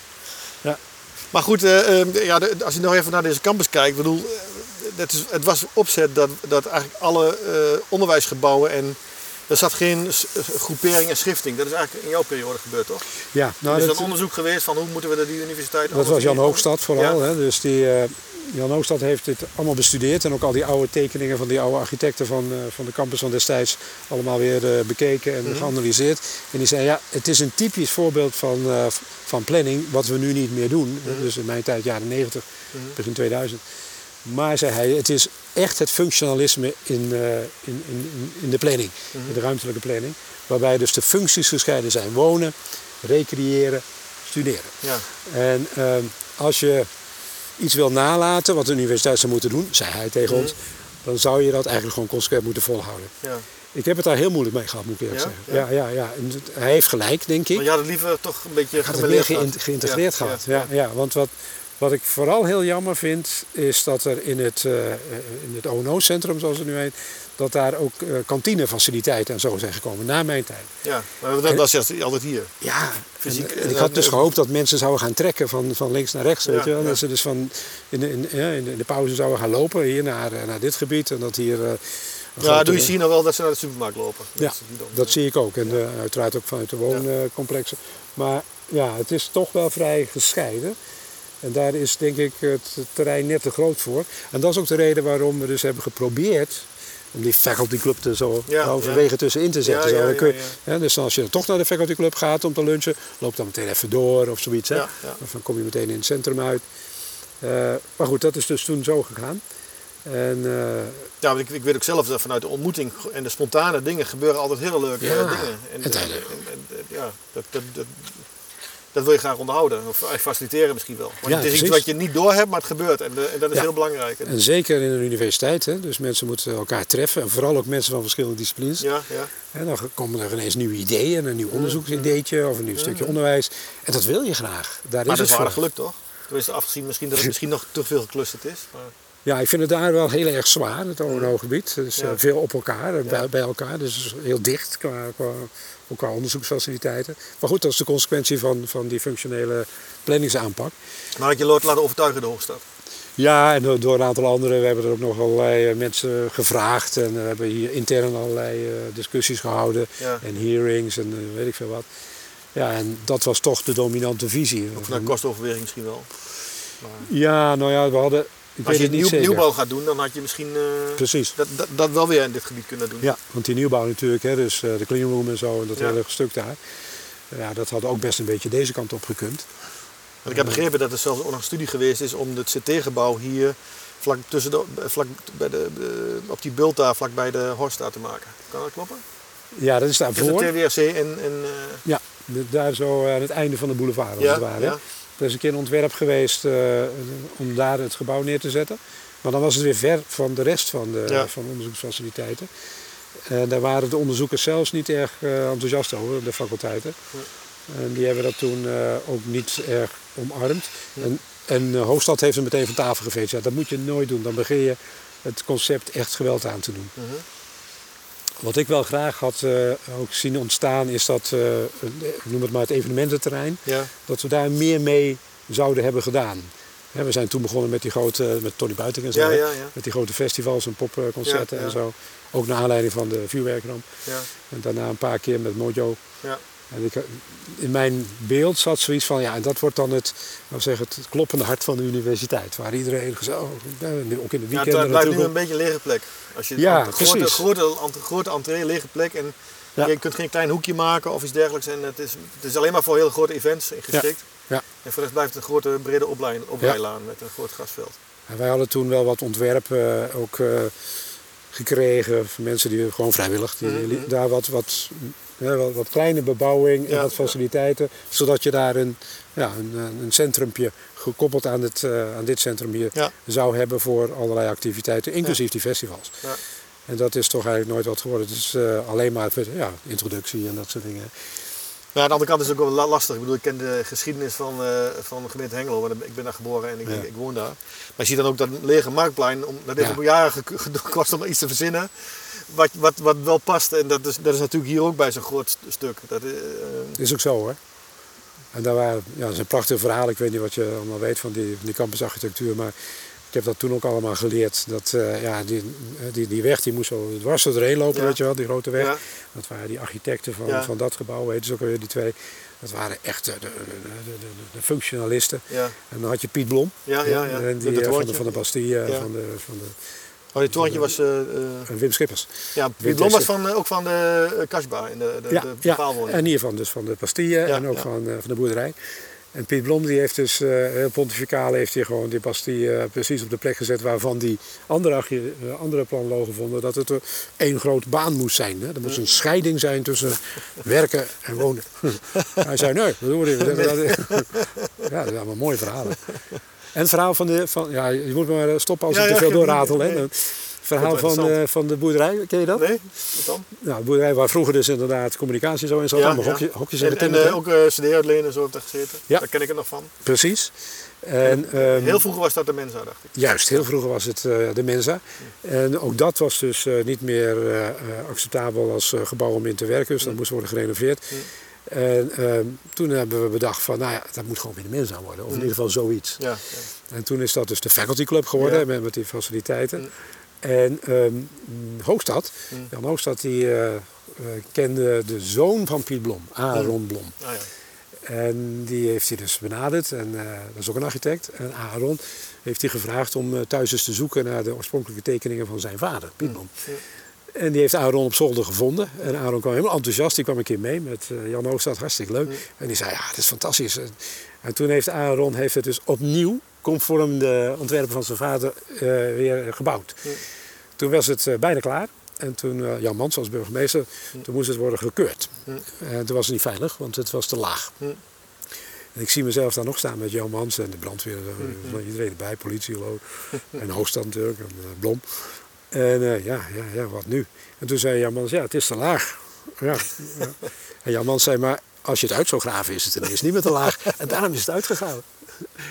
Maar goed, eh, eh, ja, de- als je nou even naar deze campus kijkt, ik bedoel, eh, dat is, het was opzet dat, dat eigenlijk alle eh, onderwijsgebouwen en er zat geen s- eh, groepering en schifting. Dat is eigenlijk in jouw periode gebeurd, toch? Ja, er is nou, dan dat, onderzoek geweest van hoe moeten we de- die universiteit dat was Jan Hoogstad vooral. Ja. Hè? Dus die, eh, Jan Hoogstad heeft dit allemaal bestudeerd. En ook al die oude tekeningen van die oude architecten van, eh, van de campus van destijds allemaal weer eh, bekeken en geanalyseerd. En die zei, ja, het is een typisch voorbeeld van, eh, van planning wat we nu niet meer doen. hè. Dus in mijn tijd, jaren 90, begin 2000. Maar zei hij, het is echt het functionalisme in, eh, in, in, in- in de planning, in de ruimtelijke planning. Waarbij dus de functies gescheiden zijn: wonen, recreëren, studeren. Ja. En ehm, als je iets wil nalaten wat een universiteit zou moeten doen, zei hij tegen Mhm. ons, dan zou je dat eigenlijk gewoon consequent moeten volhouden. ja. Ik heb het daar heel moeilijk mee gehad, moet ik eerlijk Ja? zeggen. Ja, ja, ja. En het- hij heeft gelijk, denk ik. Maar je had het liever toch een beetje Ik had het meer gemêleerd gehad. geïn- geïntegreerd Ja, gehad. ja. Ja, ja. want wat, wat ik vooral heel jammer vind, is dat er in het, eh, eh, in het ONO-centrum, zoals het nu heet, dat daar ook eh, kantinefaciliteiten en zo zijn gekomen na mijn tijd. Ja, maar dat was juist altijd hier. Ja, Fysiek, en- en ik eh, had dus eh, gehoopt dat mensen zouden gaan trekken van, van links naar rechts. weet Ja, je wel. ja. Dat ze dus van in, de- in, ja, in de- in de pauze zouden gaan lopen hier naar, eh, naar dit gebied. En dat hier. eh, een Ja, grote- doe je zien nog wel dat ze naar de supermarkt lopen. Ja, is niet dom. dat zie ik ook. En eh, uiteraard ook vanuit de wooncomplexen. Maar ja, het is toch wel vrij gescheiden. En daar is denk ik het terrein net te groot voor. En dat is ook de reden waarom we dus hebben geprobeerd om die faculty club er zo Ja, halverwege tussenin te zetten. Ja, Zo, ja, dan kun je- ja, hè, dus als je dan toch naar de faculty club gaat om te lunchen, loop dan meteen even door of zoiets. Hè? Ja, ja. Of dan kom je meteen in het centrum uit. Eh, maar goed, dat is dus toen zo gegaan. En eh, Ja, want ik, ik weet ook zelf dat vanuit de ontmoeting en de spontane dingen gebeuren altijd hele leuke Ja, eh, dingen. En, het en- hele- en- en- en- ja, dat, dat, dat, dat wil je graag onderhouden of eh, faciliteren misschien wel. Want Ja, het is iets precies. wat je niet doorhebt, maar het gebeurt en, eh, en dat is Ja. heel belangrijk. En- En zeker in een universiteit, hè? dus mensen moeten elkaar treffen. En vooral ook mensen van verschillende disciplines. ja, ja. Hè, dan komen er ineens nieuwe ideeën, een nieuw onderzoeksideetje of een nieuw stukje onderwijs. En dat wil je graag. Daar Maar is dat het is wel voor. aardig gelukt toch? Tenminste, afgezien misschien dat het misschien nog te veel geclusterd is. Maar, Ja, ik vind het daar wel heel erg zwaar, het ONO-gebied. Dus eh, Ja. veel op elkaar, en bij, bij elkaar. Dus heel dicht qua, qua, ook qua onderzoeksfaciliteiten. Maar goed, dat is de consequentie van, van die functionele planningsaanpak. maar had je Lord laten overtuigen de Hoogstad? Ja, en door, door een aantal anderen. We hebben er ook nog allerlei eh, mensen gevraagd. En we hebben hier intern allerlei eh, discussies gehouden. Ja. En hearings en eh, weet ik veel wat. Ja, en dat was toch de dominante visie. Of naar kostoverweging misschien wel. Ja, nou ja, we hadden... Ik Als weet je het niet nieuw, zeker. nieuwbouw gaat doen, dan had je misschien eh, Precies. dat, dat, dat wel weer in dit gebied kunnen doen. Ja, want die nieuwbouw natuurlijk, hè, dus eh, de cleanroom en zo en dat Ja. hele stuk daar. Ja, dat had ook best een beetje deze kant op gekund. Want ik heb begrepen dat er zelfs ook nog een studie geweest is om het CT-gebouw hier vlak tussen de, vlak bij de, eh, op die bult daar vlak bij de Horststraat te maken. Kan dat kloppen? Ja, dat is Tussen daarvoor. de TWRC en... en eh, Ja, de- daar zo aan het einde van de boulevard als Ja, het ware. ja. Er is een keer een ontwerp geweest eh, om daar het gebouw neer te zetten. Maar dan was het weer ver van de rest van de Ja. van de onderzoeksfaciliteiten. En daar waren de onderzoekers zelfs niet erg eh, enthousiast over, de faculteiten. En die hebben dat toen eh, ook niet erg omarmd. En, en eh, Hoofdstad heeft hem meteen van tafel geveegd. Ja, dat moet je nooit doen. Dan begin je het concept echt geweld aan te doen. Wat ik wel graag had eh, ook zien ontstaan is dat, eh, een- noem het maar het evenemententerrein, ja. dat we daar meer mee zouden hebben gedaan. Hè, we zijn toen begonnen met die grote, met Tony Buiting en zo, Ja, hè, ja, ja. met die grote festivals en popconcerten Ja, ja. en zo. Ook naar aanleiding van de vuurwerkramp. ja, En daarna een paar keer met Mojo. ja. En ik, in mijn beeld zat zoiets van, ja, en dat wordt dan het, laten we zeggen, het kloppende hart van de universiteit. Waar iedereen gezellig, eh, ook in de Ja, weekenden het blijft nu natuurlijk. een beetje een lege plek. Als je Ja, een grote, precies. grote, ant- grote entree, lege plek en Ja. je kunt geen klein hoekje maken of iets dergelijks. En het is, het is alleen maar voor hele grote events geschikt. ja. En voor de rest blijft het een grote brede oplijn- oprijlaan met een groot grasveld. En wij hadden toen wel wat ontwerpen eh, ook eh, gekregen van mensen die gewoon vrijwillig die, Mhm. li- daar wat, wat, hè, wat, wat kleine bebouwing en Ja, wat ja. faciliteiten, zodat je daar een, ja, een, een een centrumpje gekoppeld aan, het, eh, aan dit centrum hier Ja. zou hebben voor allerlei activiteiten, inclusief die festivals. Ja. En dat is toch eigenlijk nooit wat geworden. Het is eh, alleen maar ja, introductie en dat soort dingen. Maar aan de andere kant is het ook wel la- lastig. Ik bedoel, ik ken de geschiedenis van, eh, van de gemeente Hengelo, want ik ben daar geboren en ik, Ja. ik woon daar. Maar je ziet dan ook dat lege marktplein, om, dat heeft Ja. op jaren ge- ge- gekost om iets te verzinnen. Wat, wat, wat wel past. En dat is, dat is natuurlijk hier ook bij zo'n groot st- stuk. Dat, is, eh, Is ook zo hoor. En daar waren, ja, dat is een prachtig verhaal. Ik weet niet wat je allemaal weet van die, van die campusarchitectuur. Maar ik heb dat toen ook allemaal geleerd. Dat eh, ja, die, die, die weg die moest zo dwars door doorheen lopen, Ja. weet je wel, die grote weg. Ja. Dat waren die architecten van, Ja. van dat gebouw, weet je dus ook alweer, die twee. Dat waren echt eh, de, de, de, de, de functionalisten. ja. En dan had je Piet Blom. Ja, ja, ja. En die, Dat eh, van, de, hoortje. van de Bastille, eh, Ja. van, de, van de, Oh, dit torentje was... eh, eh, en Wim Schippers. ja, Piet Blom was van, eh, ook van de eh, Kasbah, in de, de, de paalwoning. en hiervan dus van de Bastille Ja, en ook ja. van, eh, van de boerderij. En Piet Blom die heeft dus, eh, heel pontificaal heeft hij gewoon die pastie eh, precies op de plek gezet waarvan die andere, archi- eh, andere planologen vonden dat het eh, één groot baan moest zijn. Hè? Er moest een scheiding zijn tussen werken en wonen. Hij zei nee, dat doen we niet. We zeggen dat- Ja, dat zijn allemaal mooie verhalen. En het verhaal van de, van, ja, je moet maar eh, stoppen als Ja, ik ja, te veel geen- doorratel. hè. nee. Het verhaal Goed, van, interessant. eh, van de boerderij, ken je dat? Nee? Wat dan? Nou, de boerderij waar vroeger dus inderdaad communicatie zo in zat, allemaal hokje- hokjes in de En, en timmer. eh, ook eh, cd uitlenen en zo heb ik gezeten. Ja. Daar ken ik het nog van. Precies. En, ehm, Heel vroeger was dat de Mensa, dacht ik. Juist, heel vroeger was het eh, de Mensa. En ook dat was dus eh, niet meer eh, eh, acceptabel als eh, gebouw om in te werken. Dus dat moest worden gerenoveerd. En ehm, toen hebben we bedacht van, nou ja, dat moet gewoon weer de Mensa worden. Of in ieder geval zoiets. Ja. En toen is dat dus de faculty club geworden Ja. met, met die faciliteiten. En ehm, Hoogstad, Jan Hoogstad, die eh, eh, kende de zoon van Piet Blom, Aaron Blom. Ah, ja. En die heeft hij dus benaderd. En eh, dat is ook een architect. En Aaron heeft hij gevraagd om eh, thuis eens te zoeken naar de oorspronkelijke tekeningen van zijn vader, Piet Blom. En die heeft Aaron op zolder gevonden. En Aaron kwam helemaal enthousiast. Die kwam een keer mee met eh, Jan Hoogstad. Hartstikke leuk. En die zei, ja, dat is fantastisch. En, en toen heeft Aaron heeft het dus opnieuw, conform de ontwerpen van zijn vader, eh, weer gebouwd. Toen was het eh, bijna klaar. En toen, eh, Jan Mans als burgemeester, toen moest het worden gekeurd. En toen was het niet veilig, want het was te laag. En ik zie mezelf daar nog staan met Jan Mans en de brandweer, Mm-hmm. eh, iedereen erbij, politie, hallo. en Hoogstand natuurlijk, en eh, Blom. En eh, ja, ja, ja, wat nu? En toen zei Jan Mans, ja, het is te laag. Ja, ja. En Jan Mans zei, maar als je het uit zou graven is het ineens niet meer te laag. En daarom is het uitgegraven.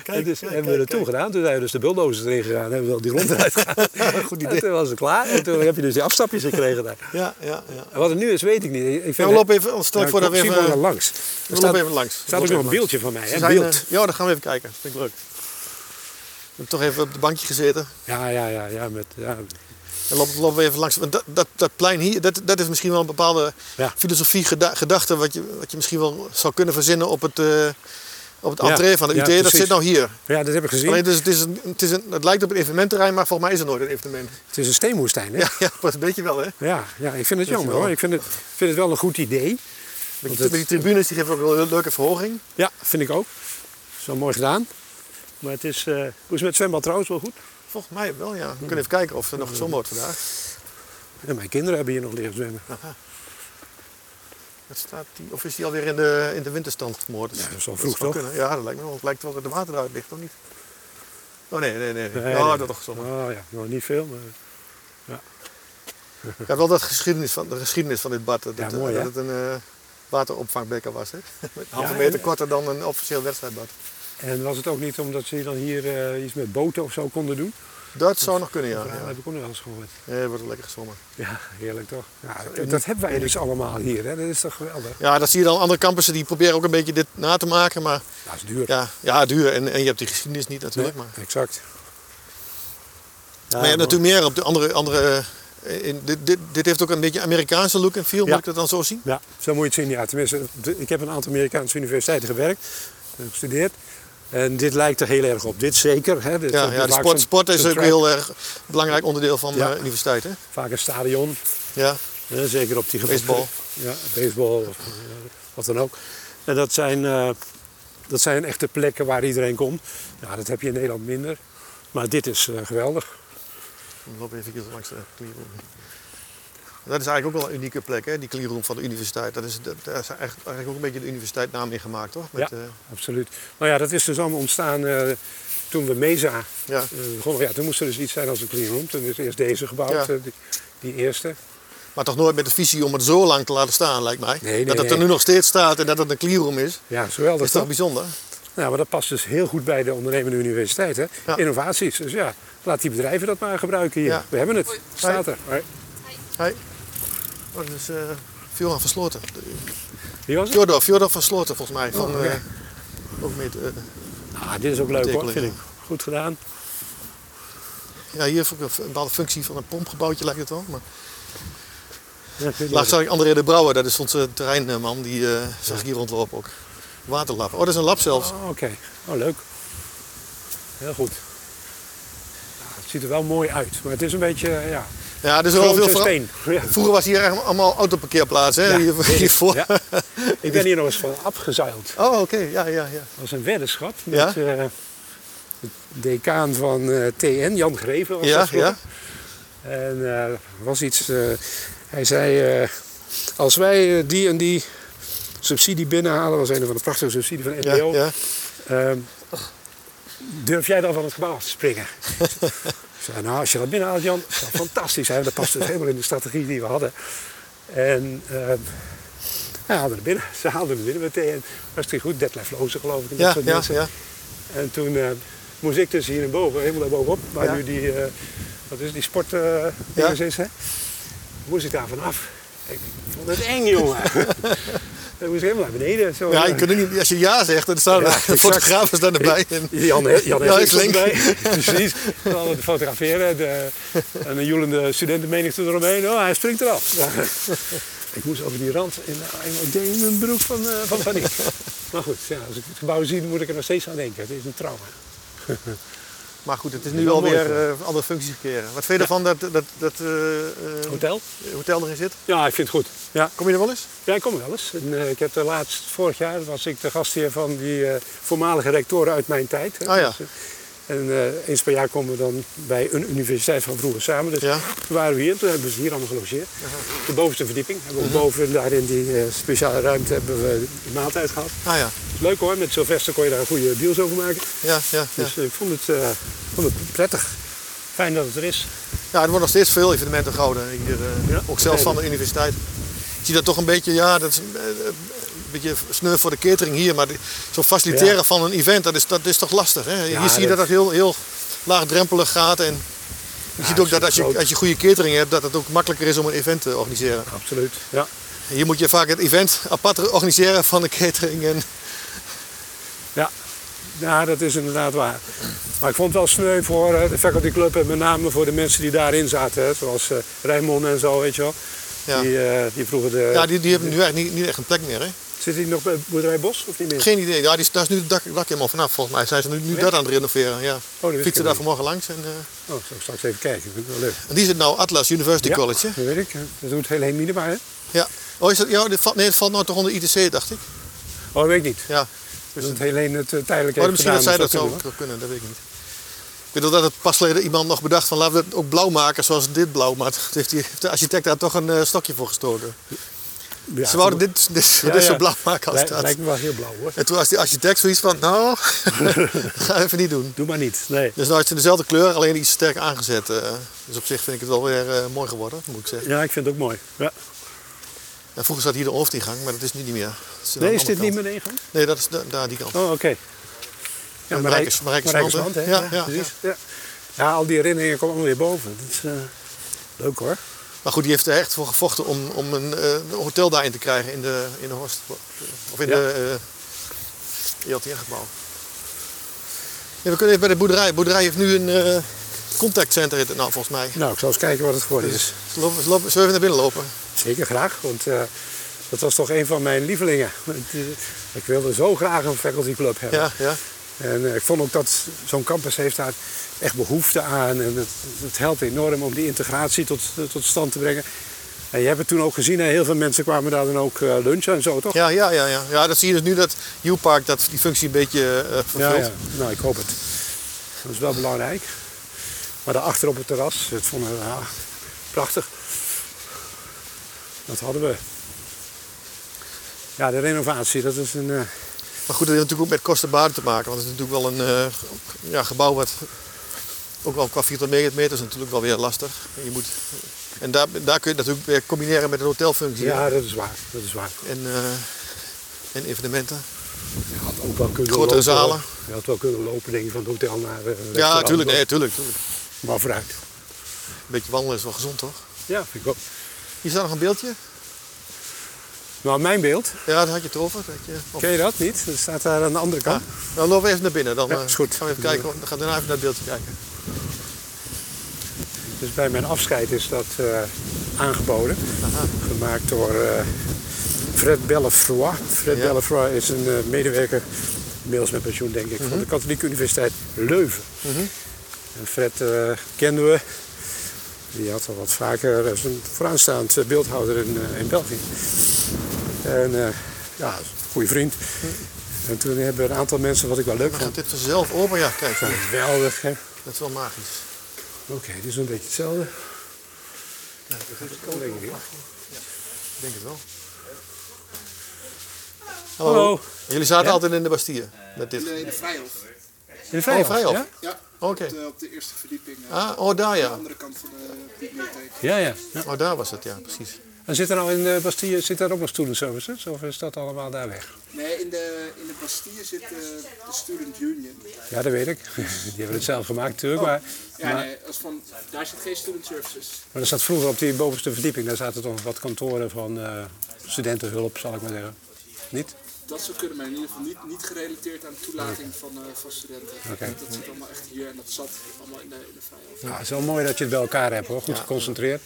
Kijk, en dus kijk, hebben we het kijk, toen kijk. gedaan. Toen zijn we dus de bulldozers erin gegaan en hebben we wel die grond eruit gehaald. Goed En idee. toen was het klaar. En toen heb je dus die afstapjes gekregen daar. Ja, ja, ja. En wat er nu is, weet ik niet. Ik vind Ja, we lopen even, anders stel Ja, ik voor dat we zie even, gewoon we er langs. Er staat, lopen even langs. staat ook nog een beeldje van mij, Ze hè? zijn, beeld. eh, ja, dan gaan we even kijken. Dat vind ik leuk. We hebben toch even op de bankje gezeten. Ja, ja, ja, ja, met, ja. En lopen, lopen we even langs. Want dat, dat, dat plein hier, dat, dat is misschien wel een bepaalde Ja. filosofie, geda- gedachte... Wat je, wat je misschien wel zou kunnen verzinnen op het, eh op het Ja, entree van de ja, UT. dat precies. zit nou hier. ja, dat heb ik gezien. Alleen dus, het, is een, het, is een, het lijkt op een evenemententerrein, maar volgens mij is het nooit een evenement. Het is een steenwoestijn, hè? Ja, Ja, ja dat een beetje wel, hè? ja, ik vind het je jammer, wel. hoor. Ik vind het, vind het wel een goed idee. Met Want die, het- met die tribunes die geven ook wel een leuke verhoging. Ja, vind ik ook. Zo mooi gedaan. Maar het is, eh, hoe is het met het zwembad trouwens? Wel goed? Volgens mij wel, ja. We kunnen even kijken of er nog gezond wordt vandaag. En mijn kinderen hebben hier nog liggen zwemmen. Dat staat die, of is die alweer in de, in de winterstand gemoord? Ja, dat is al zou vroeg, toch? kunnen. Ja, dat lijkt me wel. Het lijkt wel dat de water eruit ligt, of niet? Oh nee, nee, nee. Nee, ja, nee. dat toch gezond. Oh ja, nou niet veel, maar... Ik had wel dat geschiedenis van, de geschiedenis van dit bad. Dat, Ja, het, eh, mooi, hè? dat het een eh, wateropvangbeker was, hè? Met een halve Ja, meter ja. korter dan een officieel wedstrijdbad. En was het ook niet omdat ze dan hier eh, iets met boten of zo konden doen? Dat zou nog kunnen, ja. Ja, dat ja. heb ik ook nog wel eens gehoord. Nee, wordt wel lekker gezongen. Ja, heerlijk toch? Ja, dat hebben wij dus allemaal hier, hè? Dat is toch geweldig? Ja, dat zie je dan. Andere campussen die proberen ook een beetje dit na te maken. Maar Dat is duur. ja, ja duur. En, en je hebt die geschiedenis niet natuurlijk. Maar... Exact. maar je hebt natuurlijk meer op de andere. andere eh, in, dit, dit, dit heeft ook een beetje Amerikaanse look en feel, Ja. moet ik dat dan zo zien? Ja, zo moet je het zien. Ja, tenminste, de- ik heb een aantal Amerikaanse universiteiten gewerkt en gestudeerd. En dit lijkt er heel erg op. Dit zeker. Hè? Dit- Ja, dit ja de vaak zo'n- sport, sport is zo'n ook een track, heel erg belangrijk onderdeel van Ja. de universiteit. Hè? Vaak een stadion. Ja, hè, Zeker op die gevo- Baseball. Ja, baseball of eh, wat dan ook. En dat zijn, eh, dat zijn echte plekken waar iedereen komt. Ja, dat heb je in Nederland minder. Maar dit is eh, geweldig. we lopen even hier langs de cleanroom. Dat is eigenlijk ook wel een unieke plek, hè? die cleanroom van de universiteit. Dat is, dat, daar is eigenlijk, eigenlijk ook een beetje de universiteitsnaam in gemaakt, toch? Met, ja, eh, absoluut. Nou ja, dat is dus allemaal ontstaan eh, toen we Mesa ja. Eh, gewoon, ja, toen moest er dus iets zijn als een clean room. Toen is eerst deze gebouwd, Ja. eh, die, die eerste. Maar toch nooit met de visie om het zo lang te laten staan, lijkt mij. Nee, nee, dat het er nee. nu nog steeds staat en dat het een cleanroom is, Ja, zowel dat dat is toch toch. bijzonder? Nou, maar dat past dus heel goed bij de ondernemende universiteit. Hè? Ja. Innovaties. Dus ja, laat die bedrijven dat maar gebruiken hier. Ja. We hebben het. Staat er. Hoi. Hoi. Oh, dat is eh Fjordan van Sloten. Wie was het? Fjordan, Fjordan van Sloten volgens mij. Van, Oh, oké. eh, ook met, eh, Ah, dit is ook leuk hoor, Tekeling, vind ik. ja. Goed gedaan. ja, hier heeft ook een f- een bepaalde functie van een pompgebouwtje lijkt het wel. Maar Ja, ik weet niet laatst wat- zag ik André de Brouwer, dat is onze terreinman, die eh, zag ik hier rondlopen ook. Waterlab. Oh, dat is een lab zelfs. Oh, Oké, oh, leuk. Heel goed. Ja, het ziet er wel mooi uit, maar het is een beetje, eh, ja, Ja, er is wel Gewoon veel zo'n veranderd. steen. Ja. Vroeger was hier eigenlijk allemaal autoparkeerplaatsen, hè? Ja, hier, weet ik. hiervoor. Ja. Ik ben hier nog eens van afgezeild. Oh, oké, ja, ja, ja. Dat was een weddenschap met Ja? eh, de decaan van eh, TN, Jan Greven. Was Ja, dat vroeger. ja. En eh, er was iets, eh, hij zei, eh, als wij eh, die en die subsidie binnenhalen, was een van de prachtige subsidie van ja, NPO, ja. ehm, durf jij dan van het gebouw af te springen? Ik zei, nou, als je dat binnenhaalt, Jan, is dat fantastisch. Hè? Dat past dus helemaal in de strategie die we hadden. En ehm hij haalde er binnen. Ze haalden er binnen met TN. Hartstikke goed. Detlef Loze, geloof ik. en dat Ja, soort ja, mensen. ja. En toen eh, moest ik dus hier naar boven, helemaal naar bovenop, waar Ja. nu die, eh, wat is het, die sport eh, dinges is, hè? moest ik daar vanaf. Ik vond het eng, jongen. Dan moest ik helemaal naar beneden. Zo, Ja, eh, je kunt ook niet, als je ja zegt, dan staan Ja, de exact. fotograaf is daar erbij. En, Jan, He- Jan Ja, Hessing is stond link. erbij. Precies. We hadden te fotograferen. De, en een joelende studentenmenigte eromheen. Oh, hij springt eraf. ik moest over die rand. En nou, ik deed in mijn broek van, eh, van paniek. Maar goed, ja, als ik het gebouw zie, dan moet ik er nog steeds aan denken. Het is een trauma. maar goed, het is is nu wel alweer mooi, eh andere functies gekregen. Wat vind je ervan dat dat, dat eh, eh, Hotel? hotel erin zit? Ja, ik vind het goed. Ja. Kom je er wel eens? Ja, ik kom wel eens. En, eh, ik heb de laatst, vorig jaar was ik de gastheer van die eh, voormalige rectoren uit mijn tijd. hè. Ah, ja. Dus, eh, en eh, eens per jaar komen we dan bij een universiteit van vroeger samen. Dus Ja. toen waren we hier, toen hebben we ze hier allemaal gelogeerd. De bovenste verdieping. Hebben we boven daar in die eh, speciale ruimte hebben we de maaltijd gehad. Ah ja, Leuk hoor, met Sylvester kon je daar goede deals over maken. ja, ja. ja. Dus eh, ik vond het, eh, vond het prettig. Fijn dat het er is. Ja, er worden nog steeds veel evenementen gehouden. Hier, eh, Ja. Ook zelfs van de universiteit. Ik zie dat toch een beetje, ja, dat is eh, eh, een beetje sneu voor de catering hier. Maar die- zo'n faciliteren Ja. van een event, dat is, dat is toch lastig. Hè? Ja, hier zie je dat dat- dat heel, heel laagdrempelig gaat. En je ziet ook het dat is als je, groot. als je goede catering hebt, dat het ook makkelijker is om een event te organiseren. Absoluut. Ja. En Hier moet je vaak het event apart organiseren van de catering. En, Ja. ja, dat is inderdaad waar. Maar ik vond het wel sneu voor eh, de faculty club en met name voor de mensen die daarin zaten. Hè, zoals eh Rijnmond en zo, weet je wel. ja. Die, eh, die vroegen de... ja, die, die hebben nu eigenlijk niet, niet echt een plek meer. Hè? Zit hij nog bij Boerderij Bos of niet meer? Geen idee. Ja, die, daar is nu het dak, dak helemaal vanaf. Volgens mij zijn ze nu, nu dat aan het renoveren. Ja. Oh, dat wist ik Fietsen daar niet. vanmorgen langs. En, eh, Oh, zal ik straks even kijken. Vind ik wel leuk. En die zit nou Atlas University Ja, College, hè? Dat weet ik. Dat doet heel heen minima, hè? Ja. Oh, is dat, ja, dit valt, nee, het valt nou toch onder ITC, dacht ik. Oh, dat weet ik niet. Ja. Dus dat Helene het eh, tijdelijk Maar heeft misschien gedaan. dat zij of dat kunnen zo kunnen, dat weet ik niet. Ik weet wel dat het pas geleden iemand nog bedacht van laten we het ook blauw maken zoals dit blauw. Maar dat heeft, die, heeft de architect daar toch een eh, stokje voor gestoken. we. Ja, Ze wouden dit, dit, Ja, dit zo ja. blauw maken als Lij- dat. Lijkt me wel heel blauw, hoor. En toen was die architect zoiets van, nou, ga even niet doen. Doe maar niet. Nee. Dus nou is het in dezelfde kleur, alleen iets sterk aangezet. eh. dus op zich vind ik het wel weer eh, mooi geworden, moet ik zeggen. Ja, ik vind het ook mooi. Ja. En vroeger zat hier de hoofdingang, maar dat is nu niet meer. Dat aan de Nee, is andere dit kant. niet meer de ingang? Nee, dat is da- daar die kant. Oh, oké. Ja, Marijkes- Marijkes- Marijkersland, hè? Ja, ja, precies. Ja. Ja, al die herinneringen komen allemaal weer boven. Dat is eh, leuk hoor. Maar goed, die heeft er echt voor gevochten om, om een eh, hotel daarin te krijgen in de, in de Horst. Of in Ja. de eh ELTR-gebouw. Ja, we kunnen even bij de boerderij. De boerderij heeft nu een eh, contactcenter, heet het nou volgens mij. Nou, ik zal eens kijken wat het geworden is. Lopen, lopen, zullen we even naar binnen lopen? Zeker graag, want eh, dat was toch een van mijn lievelingen. Want, eh, Ik wilde zo graag een facultyclub hebben. Ja, ja. En eh, ik vond ook dat zo'n campus heeft daar echt behoefte aan. En het, het helpt enorm om die integratie tot, tot stand te brengen. En je hebt het toen ook gezien, hè, heel veel mensen kwamen daar dan ook eh, lunchen en zo, toch? Ja, ja, ja, ja. ja, dat zie je dus nu dat U-Park dat die functie een beetje eh Ja, vervult. ja, nou ik hoop het. Dat is wel belangrijk. Maar daarachter op het terras, het vonden we ja, prachtig. Dat hadden we. Ja, de renovatie, dat is een... eh, Maar goed, dat heeft natuurlijk ook met kostenbaarden te maken. Want het is natuurlijk wel een eh, ja, gebouw wat ook wel qua vierkante meter is natuurlijk wel weer lastig. Je moet, en daar, daar kun je het natuurlijk weer combineren met een hotelfunctie ja, dat is waar. Dat is waar. en, eh, en evenementen. Je had ook wel kunnen Grotere lopen, zalen. hoor. Je had wel kunnen lopen, denk ik, van het hotel naar... eh, een ja, restaurant, tuurlijk, hoor. nee, tuurlijk, tuurlijk. Een Maar vooruit. beetje wandelen is wel gezond, toch? Ja, vind ik ook. Hier staat nog een beeldje. Nou, mijn beeld, Ja, dat had je het over. Dat je, of- ken je dat niet? Dat staat daar aan de andere ja. kant. Nou, lopen we even naar binnen. Dan Ja, eh, is goed. gaan we even kijken. Dan gaan we daarna even naar het beeldje kijken. Dus bij mijn afscheid is dat eh, aangeboden. Gemaakt door eh, Fred Bellefroy. Fred Ja. Bellefroy is een eh, medewerker, inmiddels met pensioen denk ik, Mhm. van de Katholieke Universiteit Leuven. En Fred eh, kenden we. Die had al wat vaker eh, zo'n vooraanstaand eh, beeldhouwer in, eh, in België. En eh, ja, goede vriend. Mhm. En toen hebben een aantal mensen wat ik wel leuk Dan vond. gaat dit vanzelf open. Ja, kijk. Geweldig, hè? Oké, Dat is wel magisch. dit is een beetje hetzelfde. Ja, dat is Ik denk het wel. Ik denk het wel. Hallo. Jullie zaten Ja? altijd in de Bastille met dit. Nee, de Vrijhof. In de Oh, Vrijhof, Vrijhof. Ja? Ja, Oké. op, de, op de eerste verdieping. eh, Ah, oh daar Aan de ja. andere kant van de bibliotheek. Ja, ja. ja. Oh daar was het ja, precies. En zit er nou in de Bastille zit daar ook nog student services? Of is dat allemaal daar weg? Nee, in de, in de Bastille zit eh, de Student Union. Ja, dat weet ik. Die hebben het zelf gemaakt natuurlijk. Maar, Ja, maar, nee, als van, daar zit geen student services. maar er zat vroeger op die bovenste verdieping, daar zaten toch wat kantoren van eh, studentenhulp, zal ik maar zeggen. Niet? Dat zou kunnen, maar in ieder geval niet, niet gerelateerd aan toelating van, eh, van studenten. Oké. Dat zit allemaal echt hier en dat zat allemaal in de, in de Vrijhof. Nou, het is wel mooi dat je het bij elkaar hebt hoor. Goed geconcentreerd.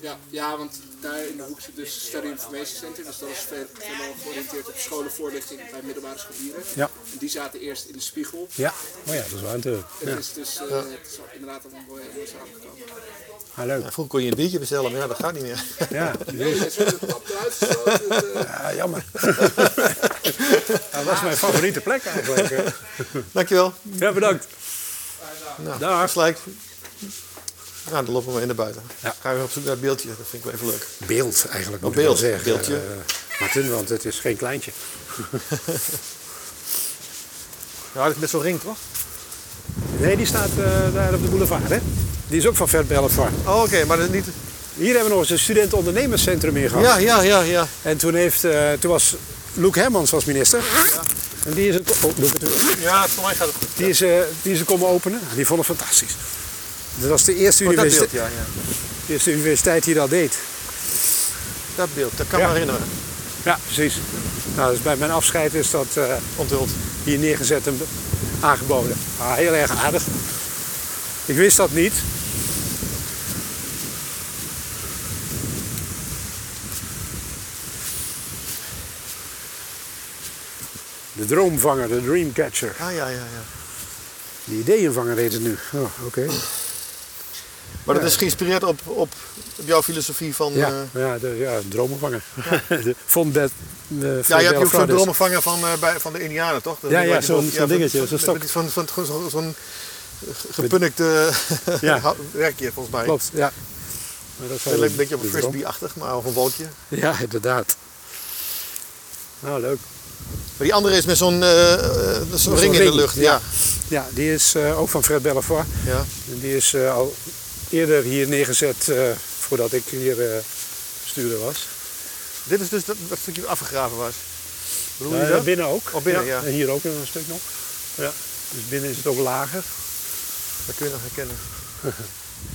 Ja, ja, want daar in de hoek zit dus Study Information Center. Dus dat is veel- veelal georiënteerd op scholenvoorlichting bij middelbare scholieren. Ja. En die zaten eerst in de spiegel. Ja, oh ja, dat is waar natuurlijk. Het is dus eh, het is inderdaad allemaal mooi mooi samengekomen. Ah, leuk. Ja, vroeger kon je een biertje bestellen, maar ja, dat gaat niet meer. Ja, Nee, het is met de tap eruit gesloten. Het, eh, ja jammer. dat was mijn favoriete plek eigenlijk. eh. Dankjewel. Ja, bedankt. Nou, Dag. Slijk. Nou, dan lopen we maar in naar buiten. Ja. Gaan we weer op zoek naar het beeldje. Dat vind ik wel even leuk. beeld eigenlijk moet Oh, ik wel beeld, zeggen. beeldje. Eh, Martin, want het is geen kleintje. Ja, dat is met zo'n ring, toch? Nee, die staat eh, daar op de boulevard. Hè? Die is ook van Vert Bellevar. Oh, oké, maar dat is niet... Hier hebben we nog eens een student-ondernemerscentrum in gehad. Ja, ja, ja, ja. En toen, heeft, eh, toen was Luc Hermans was minister. En die is, het, oh, doe ik het weer. Ja, voor mij gaat het goed. die, is, eh, die is er komen openen. Die vond het fantastisch. Dat was de eerste, Oh, dat universiteit, beeld, ja, ja. de eerste universiteit die dat deed. Dat beeld, dat kan eh, Ja. me herinneren. Ja, precies. Nou, dus bij mijn afscheid is dat eh, Onthuld. hier neergezet en aangeboden. Ah, heel erg aardig. Ik wist dat niet. De droomvanger, de dreamcatcher. Ah, ja, ja, ja. De ideeënvanger heet het nu. Oh, oké. Maar dat is geïnspireerd op, op, op jouw filosofie van... eh, Ja, ja, de, ja, de droomvanger. de, von Bed, de, Ja, von je hebt je ook zo'n Belfrades. dromenvanger van, eh, bij, van de Indianen, toch? Dat Ja, ding ja, wat je zo'n- doet. zo'n dingetje, zo'n stok. met- Zo'n zo'n- zo'n- zo'n- zo'n gepunnikte Ja. hou- werkje, volgens mij. Klopt, ja. Maar dat Het zou- lijkt een beetje op een de droom- frisbee-achtig, maar of een wolkje. Ja, inderdaad. Nou, leuk. Maar die andere is met zo'n eh, eh, zo'n zo'n ring in de ring, lucht. ja. Ja. Ja, die is eh, ook van Fred Bellevoir. Ja. En Die is eh, al eerder hier neergezet eh, voordat ik hier eh, stuurder was. Dit is dus dat, dat stukje wat afgegraven was. Bedoel je Eh, dat? binnen ook. Oh, binnen, ja. En hier ook nog een stuk nog. Ja. Dus binnen is het ook lager. Dat kun je nog herkennen.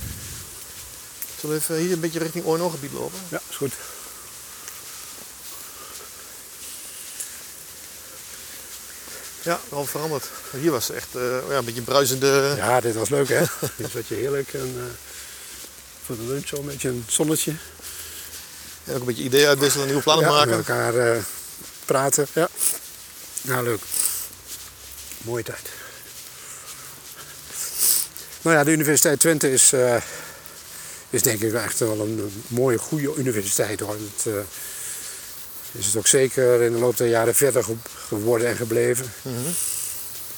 Zullen we even hier een beetje richting Oornongebied lopen? Ja, is goed. Ja, wel veranderd. Hier was echt eh, ja, een beetje bruisende... Ja, dit was leuk hè. dit zat je heerlijk. En, eh, voor de lunch zo een beetje een zonnetje. En ook een beetje ideeën uitwisselen, nieuwe plannen ja, maken. Met elkaar eh, praten. Ja. Nou, leuk. Mooie tijd. Nou ja, de Universiteit Twente is, eh, is denk ik echt wel een, een mooie, goede universiteit hoor. Het, eh, is het ook zeker in de loop der jaren verder ge- geworden en gebleven. Mhm.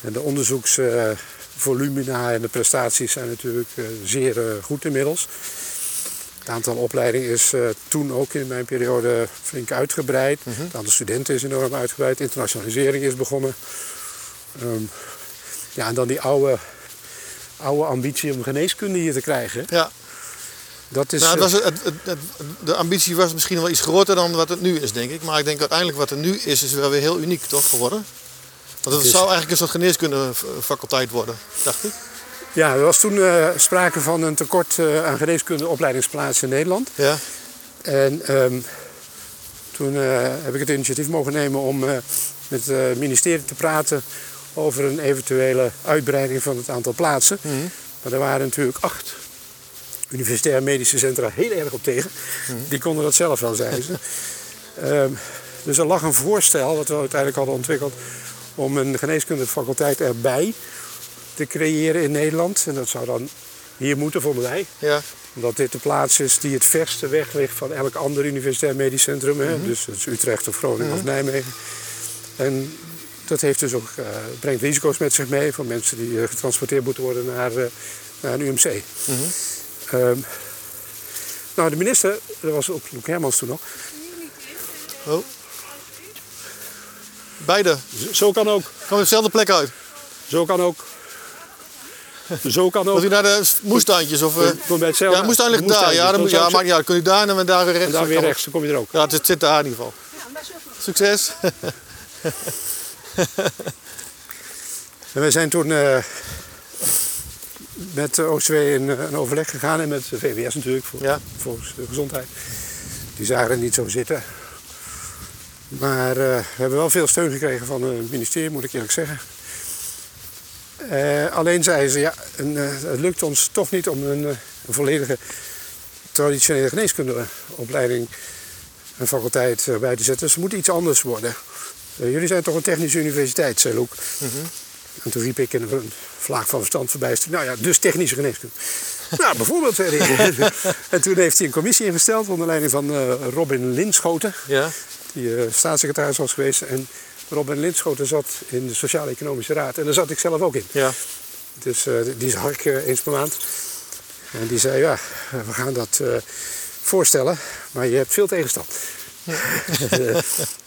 En de onderzoeksvolumina en de prestaties zijn natuurlijk eh, zeer eh, goed inmiddels. Het aantal opleidingen is eh, toen ook in mijn periode flink uitgebreid. Mhm. Het aantal studenten is enorm uitgebreid. Internationalisering is begonnen. Ehm, ja, en dan die oude, oude ambitie om geneeskunde hier te krijgen. Ja, Dat is, nou, het eh, was, het, het, het- de ambitie was misschien wel iets groter dan wat het nu is, denk ik. Maar ik denk uiteindelijk wat er nu is, is wel weer heel uniek toch geworden. Want het is- zou eigenlijk een soort geneeskundefaculteit worden, dacht ik. ja, er was toen eh, sprake van een tekort eh, aan geneeskunde opleidingsplaatsen in Nederland. Ja, En ehm, toen eh, heb ik het initiatief mogen nemen om eh, met eh, het ministerie te praten over een eventuele uitbreiding van het aantal plaatsen. Maar er waren natuurlijk acht universitair medische centra heel erg op tegen. Die konden dat zelf wel, zeiden ze. Ehm, dus er lag een voorstel dat we uiteindelijk hadden ontwikkeld om een geneeskundefaculteit erbij te creëren in Nederland. En dat zou dan hier moeten, vonden wij. ja. Omdat dit de plaats is die het verste weg ligt van elk ander universitair medisch centrum. hè? Dus dat is Utrecht of Groningen of Nijmegen. En dat heeft dus ook, eh, brengt risico's met zich mee voor mensen die eh, getransporteerd moeten worden naar, eh, naar een UMC. Ehm, nou, de minister, dat was ook Luc Hermans toen nog. Oh. Beide. Z- Zo kan ook, Komen we dezelfde plek uit. zo kan ook. Zo kan ook. Wilt u naar de moestuintjes? Of, eh, Ik kom bij hetzelfde. ja, de moestuin ligt daar. Ja, dan moet, ja, maakt niet uit. Kun je daar nou en dan daar weer rechts. En daar weer rechts, dan kom je er ook. Ja, het zit daar in ieder geval. Succes. En wij zijn toen eh, met de OCW in eh, een overleg gegaan en met de VWS natuurlijk, voor, Ja. volgens de gezondheid. Die zagen het niet zo zitten. Maar eh, we hebben wel veel steun gekregen van het ministerie, moet ik eerlijk zeggen. Eh, alleen zeiden ze, ja, een, eh, het lukt ons toch niet om een, eh, een volledige traditionele geneeskundeopleiding een faculteit eh, bij te zetten. Dus het moet iets anders worden. Eh, jullie zijn toch een technische universiteit, zei Loek. En toen riep ik in een vlaag van verstand verbijsterd. Nou ja, dus technische geneeskunde. nou, bijvoorbeeld, zei hij. en toen heeft hij een commissie ingesteld onder leiding van eh, Robin Linschoten. Ja. Die eh, staatssecretaris was geweest. En Robin Linschoten zat in de Sociaal-Economische Raad. En daar zat ik zelf ook in. Ja. Dus eh, die zag ik eh, eens per maand. En die zei, ja, we gaan dat eh, voorstellen, maar je hebt veel tegenstand.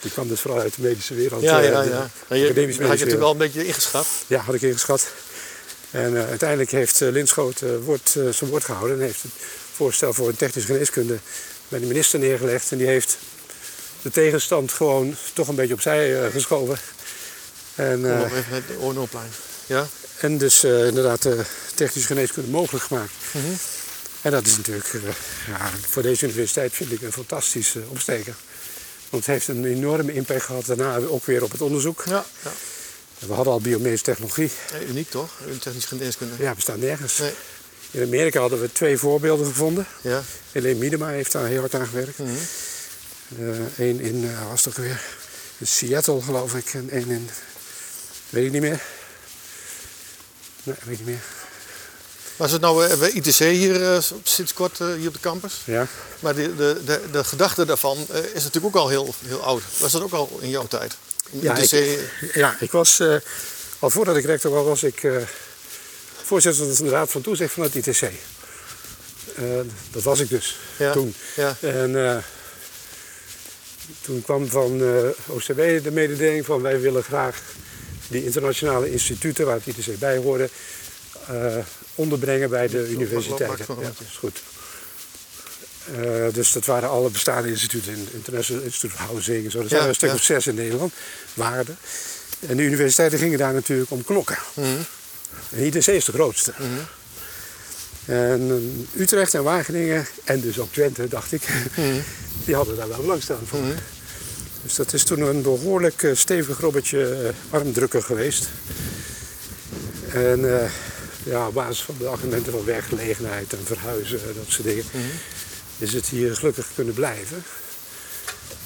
die kwam dus vooral uit de medische wereld. Ja, eh, ja, de ja. Maar Je, academische had je medische wereld. natuurlijk al een beetje ingeschat. Ja, had ik ingeschat. En eh, uiteindelijk heeft eh, Linschoot eh, woord, eh, zijn woord gehouden en heeft het voorstel voor een technische geneeskunde bij de minister neergelegd. En die heeft de tegenstand gewoon toch een beetje opzij eh, geschoven. En, eh, Nog even met de oornoplein. Ja. en dus eh, inderdaad eh, technische geneeskunde mogelijk gemaakt. Mhm. En dat is natuurlijk eh, ja, voor deze universiteit vind ik een fantastische opsteker. Want het heeft een enorme impact gehad daarna ook weer op het onderzoek. Ja. ja. We hadden al biomedische technologie. Eh, Uniek toch? Een technisch geneeskunde. Ja, bestaat nergens. Nee. In Amerika hadden we twee voorbeelden gevonden. Ja. Helene Miedema heeft daar heel hard aan gewerkt. Mhm. Eén in, eh, was het ook weer, in Seattle geloof ik. En één in, weet ik niet meer. Nee, weet ik niet meer. Was het nou eh, bij ITC hier eh, sinds kort eh, hier op de campus? Ja. Maar de, de, de, de gedachte daarvan eh, is natuurlijk ook al heel, heel oud. Was dat ook al in jouw tijd? Ja, ITC, Ja, ik was, eh, al voordat ik rector was, was ik eh, voorzitter van de Raad van Toezicht van het ITC. Eh, dat was ik dus ja, toen. Ja, En eh, toen kwam van eh OCW de mededeling van wij willen graag die internationale instituten waar het ITC bij hoorde eh, onderbrengen bij de universiteiten. maak Ja, maar dat een is goed. Eh, dus dat waren alle bestaande instituten, in- International Institute of Housing en zo. Er zijn Ja, er een stuk ja. of zes in Nederland, waarde. En de universiteiten gingen daar natuurlijk om knokken. Mhm. En ITC is de grootste. En eh, Utrecht en Wageningen, en dus ook Twente, dacht ik, Mhm. die hadden daar wel belangstelling voor. Dus dat is toen een behoorlijk eh, stevig robbertje eh, armdrukker geweest. En eh, ja, op basis van de argumenten van werkgelegenheid en verhuizen en dat soort dingen, Mhm. is het hier gelukkig kunnen blijven.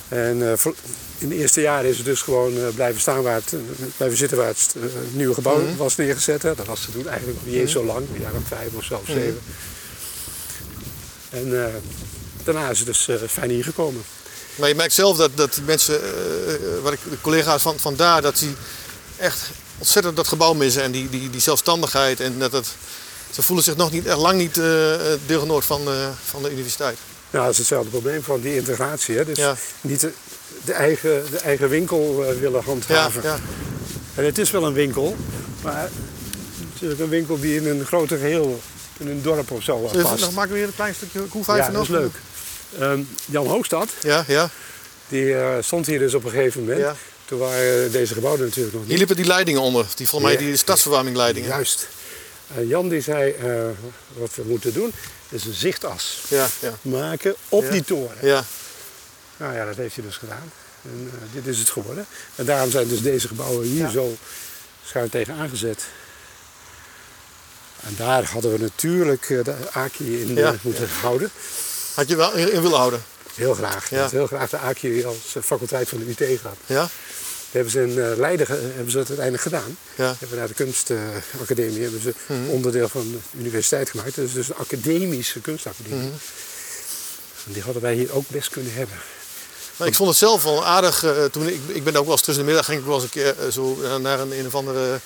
En eh, voor- in de eerste jaren is het dus gewoon eh, blijven staan waar het, eh, blijven zitten waar het eh, nieuwe gebouw Mhm. was neergezet. Hè. Dat was ze toen eigenlijk nog niet eens zo lang, een jaar of vijf of Mhm. zelfs zeven. En eh, daarna is het dus eh, fijn hier gekomen. maar je merkt zelf dat, dat die mensen, eh, eh, wat ik, de collega's van, van daar, dat die echt ontzettend dat gebouw missen. En die, die, die zelfstandigheid. En dat, dat, ze voelen zich nog niet, echt lang niet eh eh, deelgenoot van, eh, van de universiteit. Nou, dat is hetzelfde probleem van die integratie. Hè? Dus Ja. niet de, de eigen, de eigen winkel eh, willen Ja, handhaven. ja. En het is wel een winkel, maar het is natuurlijk een winkel die in een groter geheel, in een dorp of zo eh, Zullen we past. nog maken weer een klein stukje koefuif Ja, nog? dat is leuk. Ehm, Jan Hoogstad, Ja, ja. die eh, stond hier dus op een gegeven moment. Ja. Toen waren eh, deze gebouwen natuurlijk nog niet. Hier liepen die leidingen onder. Die, volgens mij Ja. die stadsverwarmingleidingen. Juist. En Jan die zei, eh, wat we moeten doen, is een zichtas Ja, ja. maken op die toren. Ja, Nou ja, dat heeft hij dus gedaan. En eh, dit is het geworden. En daarom zijn dus deze gebouwen hier zo schuin tegen aangezet. En daar hadden we natuurlijk eh, de Aki in Ja. eh, moeten houden. had je wel in in willen houden. Heel graag. Ik Ja. had Heel graag de Aki als eh, faculteit van de UT gehad. Ja? hebben ze in eh, Leiden ge- hebben ze dat uiteindelijk gedaan. Ja. Mhm. Hebben naar de kunstacademie eh, hebben ze onderdeel van de universiteit gemaakt. Dat is dus een academische Mhm. kunstacademie. En die hadden wij hier ook best kunnen hebben. Nou, ik vond het zelf wel aardig. eh, toen ik, ik ben ook wel eens tussen de middag ging ik wel eens een keer eh, zo eh, naar een, een of andere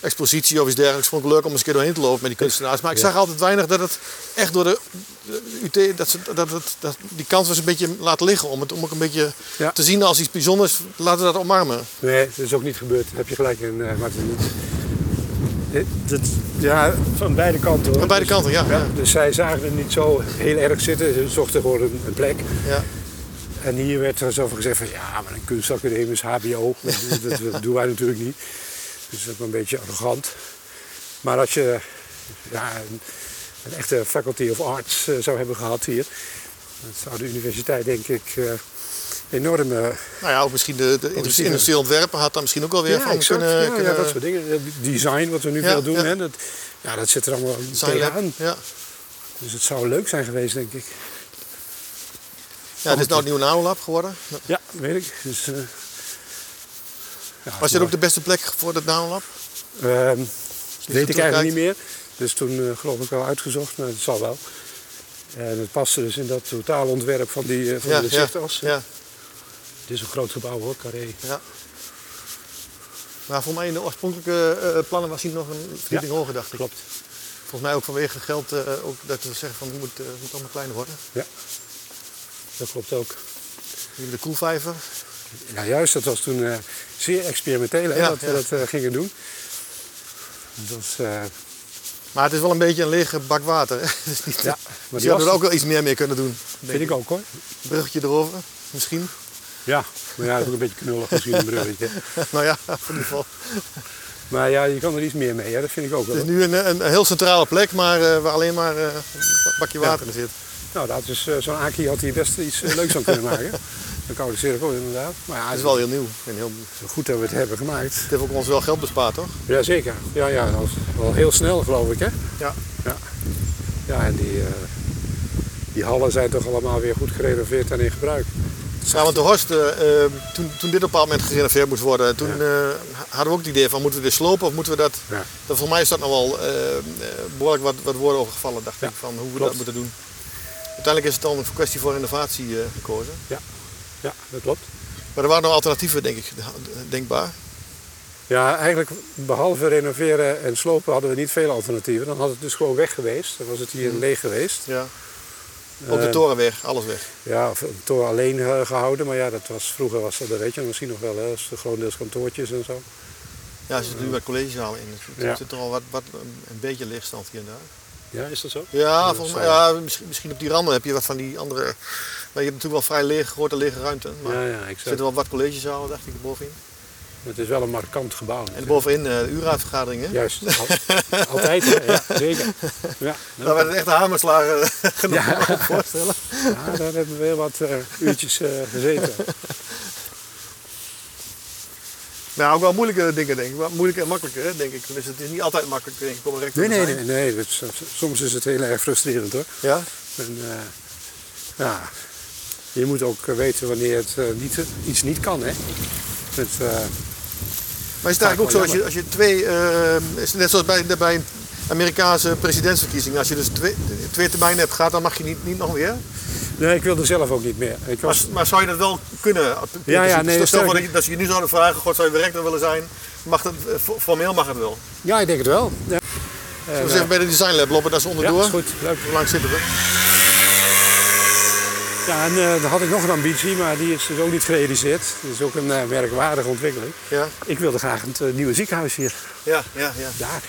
expositie of iets dergelijks. Vond ik leuk om eens een keer doorheen te lopen met die kunstenaars. Maar ik zag altijd weinig dat het echt door de, de UT, dat, ze, dat, het dat die kans was een beetje laten liggen. Om het om ook een beetje Ja. te zien als iets bijzonders. Laten we dat omarmen. Nee, dat is ook niet gebeurd. Daar heb je gelijk in, eh Martin. Dit- dit- ja, van beide kanten hoor. Aan beide kanten, ja. ja. Dus zij zagen het niet zo heel erg zitten. Ze zochten gewoon een, een plek. ja. En hier werd er zo van gezegd van ja, maar een kunstacademie is HBO. Dat, dat- dat doen wij natuurlijk niet. Dus dat is ook een beetje arrogant. Maar als je ja, een, een echte faculty of arts eh, zou hebben gehad hier, dan zou de universiteit denk ik eh, enorm eh, Nou ja, ook misschien de, de industrie- industrieel ontwerpen had daar misschien ook wel weer van exact. kunnen... Ja, ja, kunnen- dat soort dingen. Dat Design, wat we nu Ja, veel doen, ja. Hè, dat, ja, dat zit er allemaal zijn lab- tegenaan. Ja. Dus het zou leuk zijn geweest, denk ik. ja, dit is nou het nieuwe Nanolab geworden. Ja, weet ik. Dus, eh, ja, Was dit ook de beste plek voor het Nanolab? Ehm, weet ik terugkijkt. eigenlijk niet meer. Dus toen eh, geloof ik wel uitgezocht, maar het zal wel. En het paste dus in dat totaalontwerp van die eh, van de zichtas. ja. Het is een groot gebouw hoor, carré. Ja. Maar voor mij in de oorspronkelijke eh, plannen was hier nog een verdieping hoger, dacht ik. Klopt. Volgens mij ook vanwege geld eh, ook dat we zeggen van het moet, eh, het moet allemaal kleiner worden. Ja, dat klopt ook. Hier hebben we de koelvijver. Ja, juist, dat was toen eh, zeer experimenteel hè, Ja, dat we ja. dat eh, gingen doen. Dat was, eh, Maar het is wel een beetje een lege bak water. hè. Dus niet, ja, maar maar die die hadden er was, ook wel iets meer mee kunnen doen. denk vind ik ook hoor. Bruggetje erover, misschien. Ja, maar ja, dat is ook een beetje knullig misschien een bruggetje. nou ja, in ieder geval. Maar ja, je kan er iets meer mee, hè? dat vind ik ook wel. Het is nu een, een, een heel centrale plek, maar eh, waar alleen maar eh, een bakje water in zit. Nou, dat is, eh, zo'n Aki had hier best iets eh, leuks aan kunnen maken. Een koude cirkel inderdaad. Maar ja, Het is wel heel nieuw. En heel, goed dat we het hebben gemaakt. het heeft ook ons wel geld bespaard, toch? Jazeker. Ja, ja, dat was wel heel snel geloof ik hè. Ja. Ja, ja en die, eh, die hallen zijn toch allemaal weer goed gerenoveerd en in gebruik. Ja, want de Horst, eh, eh, toen, toen dit op een bepaald moment gerenoveerd moest worden, toen eh, hadden we ook het idee van moeten we dit slopen of moeten we dat... Ja. dat voor mij is dat nog wel eh, eh, behoorlijk wat, wat woorden overgevallen, dacht ik, van hoe we klopt. dat moeten doen. Uiteindelijk is het dan een kwestie voor innovatie eh, gekozen. Ja, dat klopt. Maar er waren nog alternatieven, denk ik, denkbaar. Ja, eigenlijk behalve renoveren en slopen hadden we niet veel alternatieven. Dan had het dus gewoon weg geweest. Dan was het hier leeg geweest. Ja. Ook de Eh, toren weg, alles weg. Ja, of een toren alleen eh, gehouden. Maar ja, dat was, vroeger was dat, dat weet je misschien nog wel, hè, als grotendeels kantoortjes en zo. Ja, er zit nu wat collegezalen in. Er Ja. zit er al wat, wat, een- een beetje leegstand hier en daar. Ja, is dat zo? Ja, volgens mij, zal- ja misschien, misschien op die randen heb je wat van die andere... Maar je hebt natuurlijk wel vrij leeg, grote lege ruimte. Maar Ja, ja, er exact. zitten wel wat collegezalen, dacht ik, erbovenin. Het is wel een markant gebouw. En bovenin eh, de URA-vergaderingen. Juist, al- altijd. hè, Ja, zeker. Ja, Daar werden echt de eh, hamerslagen genomen, Ja. kan ik me voorstellen. ja, daar hebben we heel wat eh, uurtjes eh, gezeten. Nou, ook wel moeilijke dingen, denk ik. Wel Moeilijke en makkelijke, hè, denk ik. Dus het is niet altijd makkelijk, denk ik, om een rector Nee, te nee, zijn. nee. nee dat is- soms is het heel erg frustrerend hoor. Ja? En, eh, ja, je moet ook weten wanneer het, eh, niet, iets niet kan. Hè? Het, eh, Maar is het eigenlijk ook zo, als je, als je twee... eh, is net zoals bij, bij een Amerikaanse presidentsverkiezingen. Als je dus twee, twee termijnen hebt gehad, dan mag je niet, niet nog weer. nee, ik wilde zelf ook niet meer. Ik Maar, was, maar zou je dat wel kunnen? dus Ja, ja, nee, Stel voor sterker- dat je, dat ze je nu zouden vragen, god, zou je rector willen zijn? Mag dat, eh, fo- formeel mag het wel. Zullen ja, ik denk het wel. Ja, we eens even bij de design lab lopen, daar is ja onderdoor. is goed. Leuk. Hoe lang zitten we? Ja, en eh dan had ik nog een ambitie, maar die is dus ook niet gerealiseerd. Dat is ook een eh, merkwaardige ontwikkeling. Ja, Ik wilde graag het eh, nieuwe ziekenhuis hier. ja, ja. ja. Daar,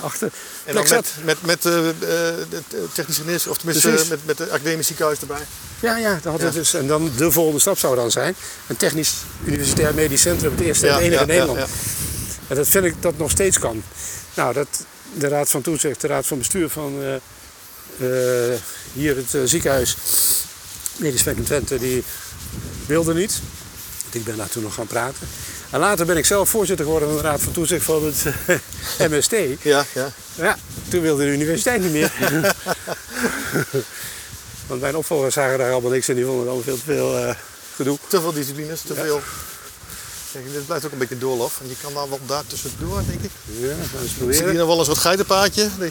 achter. En Plek dan zat. met, met, met eh, eh, de de technische genees, of tenminste Precies. eh, met, met de academisch ziekenhuis erbij. Ja, ja, dat had het Ja. dus. En dan de volgende stap zou dan zijn. Een technisch universitair medisch centrum, het eerste en Ja, het enige ja, in Nederland. ja, ja. En dat vind ik dat nog steeds kan. Nou, dat de Raad van Toezicht, de Raad van Bestuur van eh, eh, hier het eh, ziekenhuis, Medisch Spek in Twente, die wilde niet. Want Ik ben daar toen nog gaan praten. En later ben ik zelf voorzitter geworden van de Raad van Toezicht van het eh, MST. Ja, ja. Ja, toen wilde de universiteit niet meer. Want mijn opvolgers zagen daar allemaal niks en die vonden het allemaal veel te veel eh, gedoe. Te veel disciplines, te veel. Kijk, dit blijft ook een beetje een doorlof. Want je kan daar wel daar tussendoor, denk ik. Ja, gaan we eens Zit hier proberen. nog wel eens wat geitenpaadje?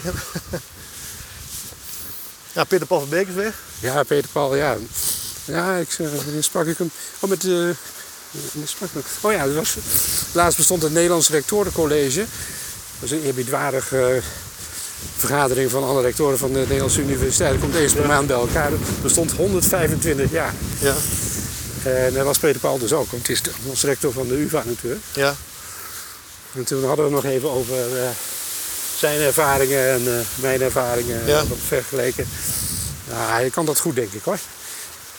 Ja, Peter Paul van Beek is weg. Ja, Peter Paul, ja. Ja, ik zeg, wanneer sprak ik hem? Oh, met de... Oh ja, dat was, laatst bestond het Nederlands Rectorencollege. Dat is een eerbiedwaardige eh, vergadering van alle rectoren van de Nederlandse universiteit. Dat komt eens per maand bij elkaar. Dat bestond 125 jaar. Ja, En daar was Peter Paul dus ook, want het is de- onze rector van de UvA natuurlijk. ja. En toen hadden we nog even over eh, zijn ervaringen en eh, mijn ervaringen eh, Ja. wat vergeleken. Ja, hij kan dat goed, denk ik hoor.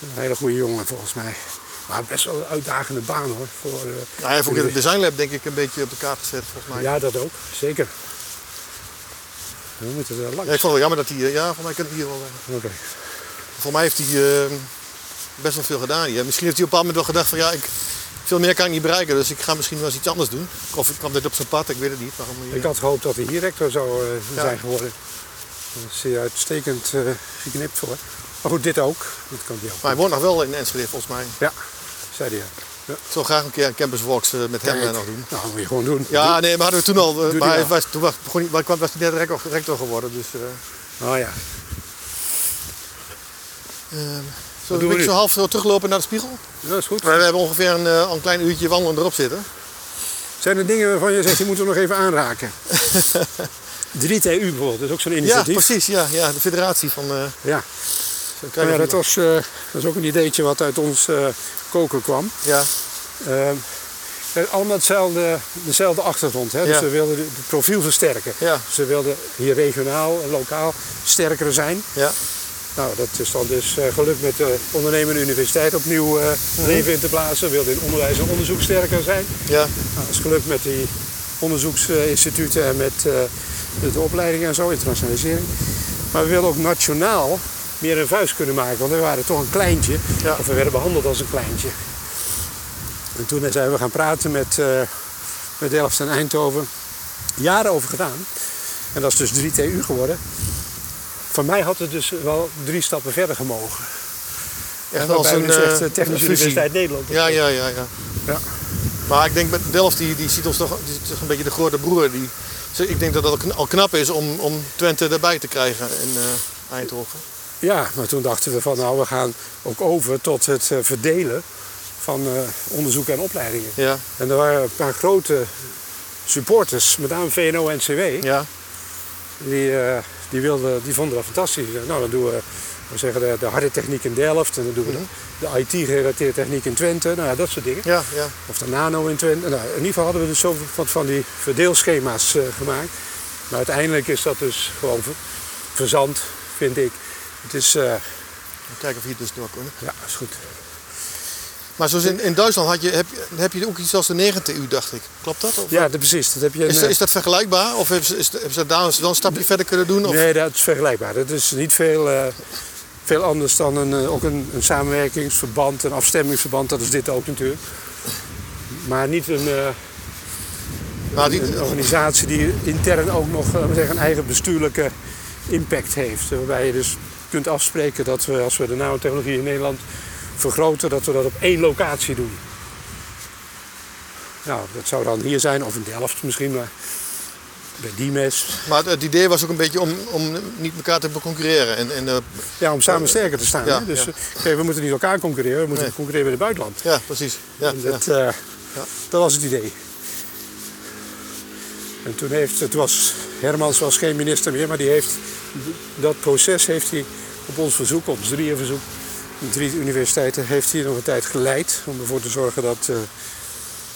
Een hele goede jongen volgens mij. Maar best wel een uitdagende baan hoor. Voor, eh, Nou, hij heeft ook in het Design Lab denk ik een beetje op de kaart gezet volgens mij. Ja. ja, dat ook, zeker. We moeten er langs. ik vond het wel jammer dat hij, eh, ja, voor mij kan ik hier wel. eh, Oké. Voor mij heeft hij eh, best wel veel gedaan. hier. Misschien heeft hij op een bepaald moment wel gedacht van ja, ik, veel meer kan ik niet bereiken, dus ik ga misschien wel eens iets anders doen. Of ik kwam dit op zijn pad, ik weet het niet. Maar om, eh, Ik had gehoopt dat hij hier rector zou eh, Ja. zijn geworden. Dat is hij uitstekend eh, geknipt voor. Maar goed, dit ook. Dit kan hij ook. Maar hij woont nog wel in Enschede volgens mij. Ja, zei hij. ja. Ik zou graag een keer een campus walks eh, met hem Kijk, eh, nog doen. Nou, dat moet je gewoon doen. Ja, nee, maar hadden we toen al. eh, die maar hij wel. was, toen was, begon, hij- maar kwam- was hij net rector, rector geworden. Dus, eh Oh ja. zullen doen we we een zo nu? half zo teruglopen naar de spiegel? Dat is goed. We hebben ongeveer een, eh, al een klein uurtje wandelen erop zitten. Zijn er dingen waarvan je zegt, je moet er nog even aanraken? 3TU bijvoorbeeld, dat is ook zo'n Ja, initiatief. precies. Ja, ja, de federatie van... eh, Ja, zo Maar krijgen ja, we dat, was, eh, dat is ook een ideetje wat uit ons eh, koken kwam. Ja, Ehm, eh, allemaal hetzelfde, dezelfde achtergrond. Hè? Dus Ja. ze wilden de- het profiel versterken. Ja. Ze wilden hier regionaal en lokaal sterker zijn. ja. Nou, dat is dan dus eh, gelukt met de ondernemende universiteit opnieuw eh, Mhm. leven in te blazen. Wilden in onderwijs en onderzoek sterker zijn. ja. Nou, dat is gelukt met die onderzoeksinstituten en met eh, de, de opleidingen en zo, internationalisering. Maar we willen ook nationaal meer een vuist kunnen maken, want we waren toch een kleintje. Ja. Of we werden behandeld als een kleintje. En toen zijn we gaan praten met, eh met Delft en Eindhoven. Jaren over gedaan. En dat is dus 3 TU geworden. Voor mij had het dus wel drie stappen verder gemogen. Echt Waarbij we nu eh, echt, eh, Technische fusie. Universiteit Nederland. Ja, ja, ja, ja. Ja. Maar ik denk, met Delft die, die ziet ons toch, die is toch een beetje de grote broer. Die, ze- ik denk dat dat ook kn- al knap is om, om Twente erbij te krijgen in eh, Eindhoven. Ja, maar toen dachten we van nou, we gaan ook over tot het eh, verdelen van eh, onderzoek en opleidingen. Ja, En er waren een paar grote supporters, met name VNO-NCW, ja, die, eh, die, wilden, die vonden dat fantastisch. Die zeiden, Nou, dan doen we, we zeggen, de, de harde techniek in Delft en dan doen we de, de IT-gerelateerde techniek in Twente, nou ja, dat soort dingen. ja, ja. Of de nano in Twente. Nou, in ieder geval hadden we dus zoveel wat van die verdeelschema's eh, gemaakt. Maar uiteindelijk is dat dus gewoon ver- verzand, vind ik. Het is, eh, Even Kijken of hier dus door kunnen. ja, is goed. Maar zoals in, in Duitsland had je, heb, je- heb je ook iets als de 90 uur, dacht ik. Klopt dat? Of, Ja, dat, precies. Dat heb je een, is, eh, is dat vergelijkbaar? Of hebben ze, is, hebben ze daar dan een stapje verder kunnen doen? Of? Nee, dat is vergelijkbaar. Dat is niet veel, eh, veel anders dan een, eh, ook een, een samenwerkingsverband, een afstemmingsverband. Dat is dit ook natuurlijk. Maar niet een, eh, maar die, een organisatie die intern ook nog laten we zeggen, een eigen bestuurlijke impact heeft. Waarbij je dus kunt afspreken dat we, als we de nanotechnologie in Nederland vergroten, dat we dat op één locatie doen. Nou, dat zou dan hier zijn, of in Delft misschien, maar bij Diemes. maar het idee was ook een beetje om, om niet elkaar te concurreren. En, en, eh, Ja, om samen sterker te staan. Ja, hè? dus ja. eh, kijk, we moeten niet elkaar concurreren, we moeten Nee. concurreren met het buitenland. ja, precies. Ja, En ja. dat, eh, dat was het idee. En toen, heeft, toen was Hermans was geen minister meer, maar die heeft, dat proces heeft hij op ons verzoek, op ons drieën verzoek, de drie universiteiten, heeft hij nog een tijd geleid om ervoor te zorgen dat, eh,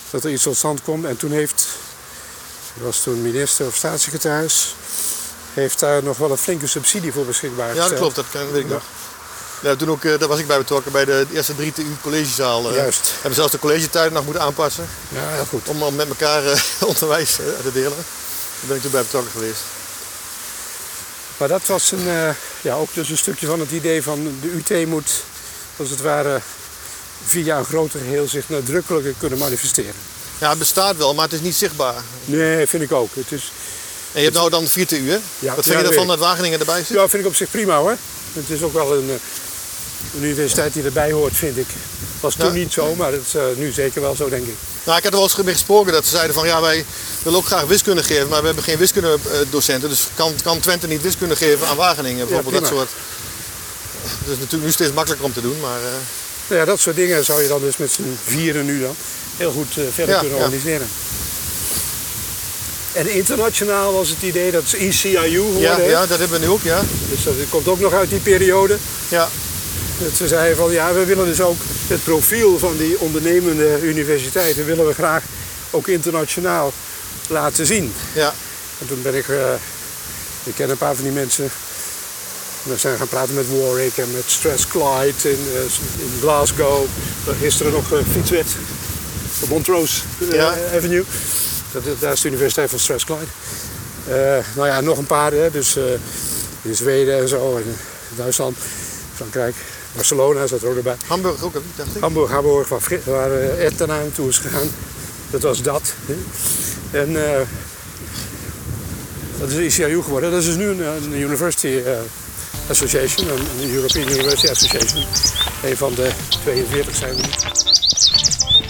dat er iets tot stand komt. En toen heeft, hij was toen minister of staatssecretaris, heeft daar nog wel een flinke subsidie voor beschikbaar Ja, dat gesteld. klopt, dat kan- weet ik Ja. nog. Ja, toen ook, eh, daar was ik bij betrokken bij de eerste drie TU collegezaal. eh. Juist. Hebben zelfs de collegetijden nog moeten aanpassen Ja, heel goed. om dan met elkaar eh, onderwijs eh, te delen. Daar ben ik toen bij betrokken geweest. Maar dat was een, eh, ja, ook dus een stukje van het idee van de UT moet, als het ware, via een groter geheel zich nadrukkelijker kunnen manifesteren. Ja, het bestaat wel, maar het is niet zichtbaar. Nee, vind ik ook. Het is, En je hebt nou dan vier TU, ja, hè? Wat ja, vind je weet ervan ik. dat Wageningen erbij zit? Ja, vind ik op zich prima hoor. Het is ook wel een, eh, een universiteit die erbij hoort, vind ik. Was toen Ja. niet zo, maar dat is eh, nu zeker wel zo, denk ik. Nou, ik had er wel eens mee gesproken dat ze zeiden van ja, wij willen ook graag wiskunde geven, maar we hebben geen wiskundedocenten. Dus kan, kan Twente niet wiskunde geven aan Wageningen bijvoorbeeld? Ja, dat prima. soort. Dat is natuurlijk nu steeds makkelijker om te doen, maar. eh, Nou ja, dat soort dingen zou je dan dus met z'n vieren nu dan heel goed eh, verder Ja, kunnen ja. organiseren. En internationaal was het idee dat is ECIU geworden. ja, hè? ja, dat hebben we nu ook, ja. Dus dat komt ook nog uit die periode. Ja, Dat ze zeiden van ja, we willen dus ook het profiel van die ondernemende universiteiten willen we graag ook internationaal laten zien. ja. En toen ben ik, eh, ik ken een paar van die mensen. We zijn gaan praten met Warwick en met Strathclyde in, eh, in Glasgow. Waar Gisteren nog eh, fietswet op Montrose eh, Ja. Avenue. Dat, dat- daar is de Universiteit van Strathclyde. Eh, nou ja, nog een paar, hè, dus eh, in Zweden en zo, en Duitsland, Frankrijk, Barcelona zat er ook nog bij. Hamburg ook, dacht ik. Hamburg, Hamburg, waar, Fri- waar eh, Ed daarna naartoe is gegaan. Dat was dat. Hè. En eh, dat is ICIU geworden. Dat is dus nu een, een University eh, Association, een, een European University Association. Een van de 42 zijn we nu.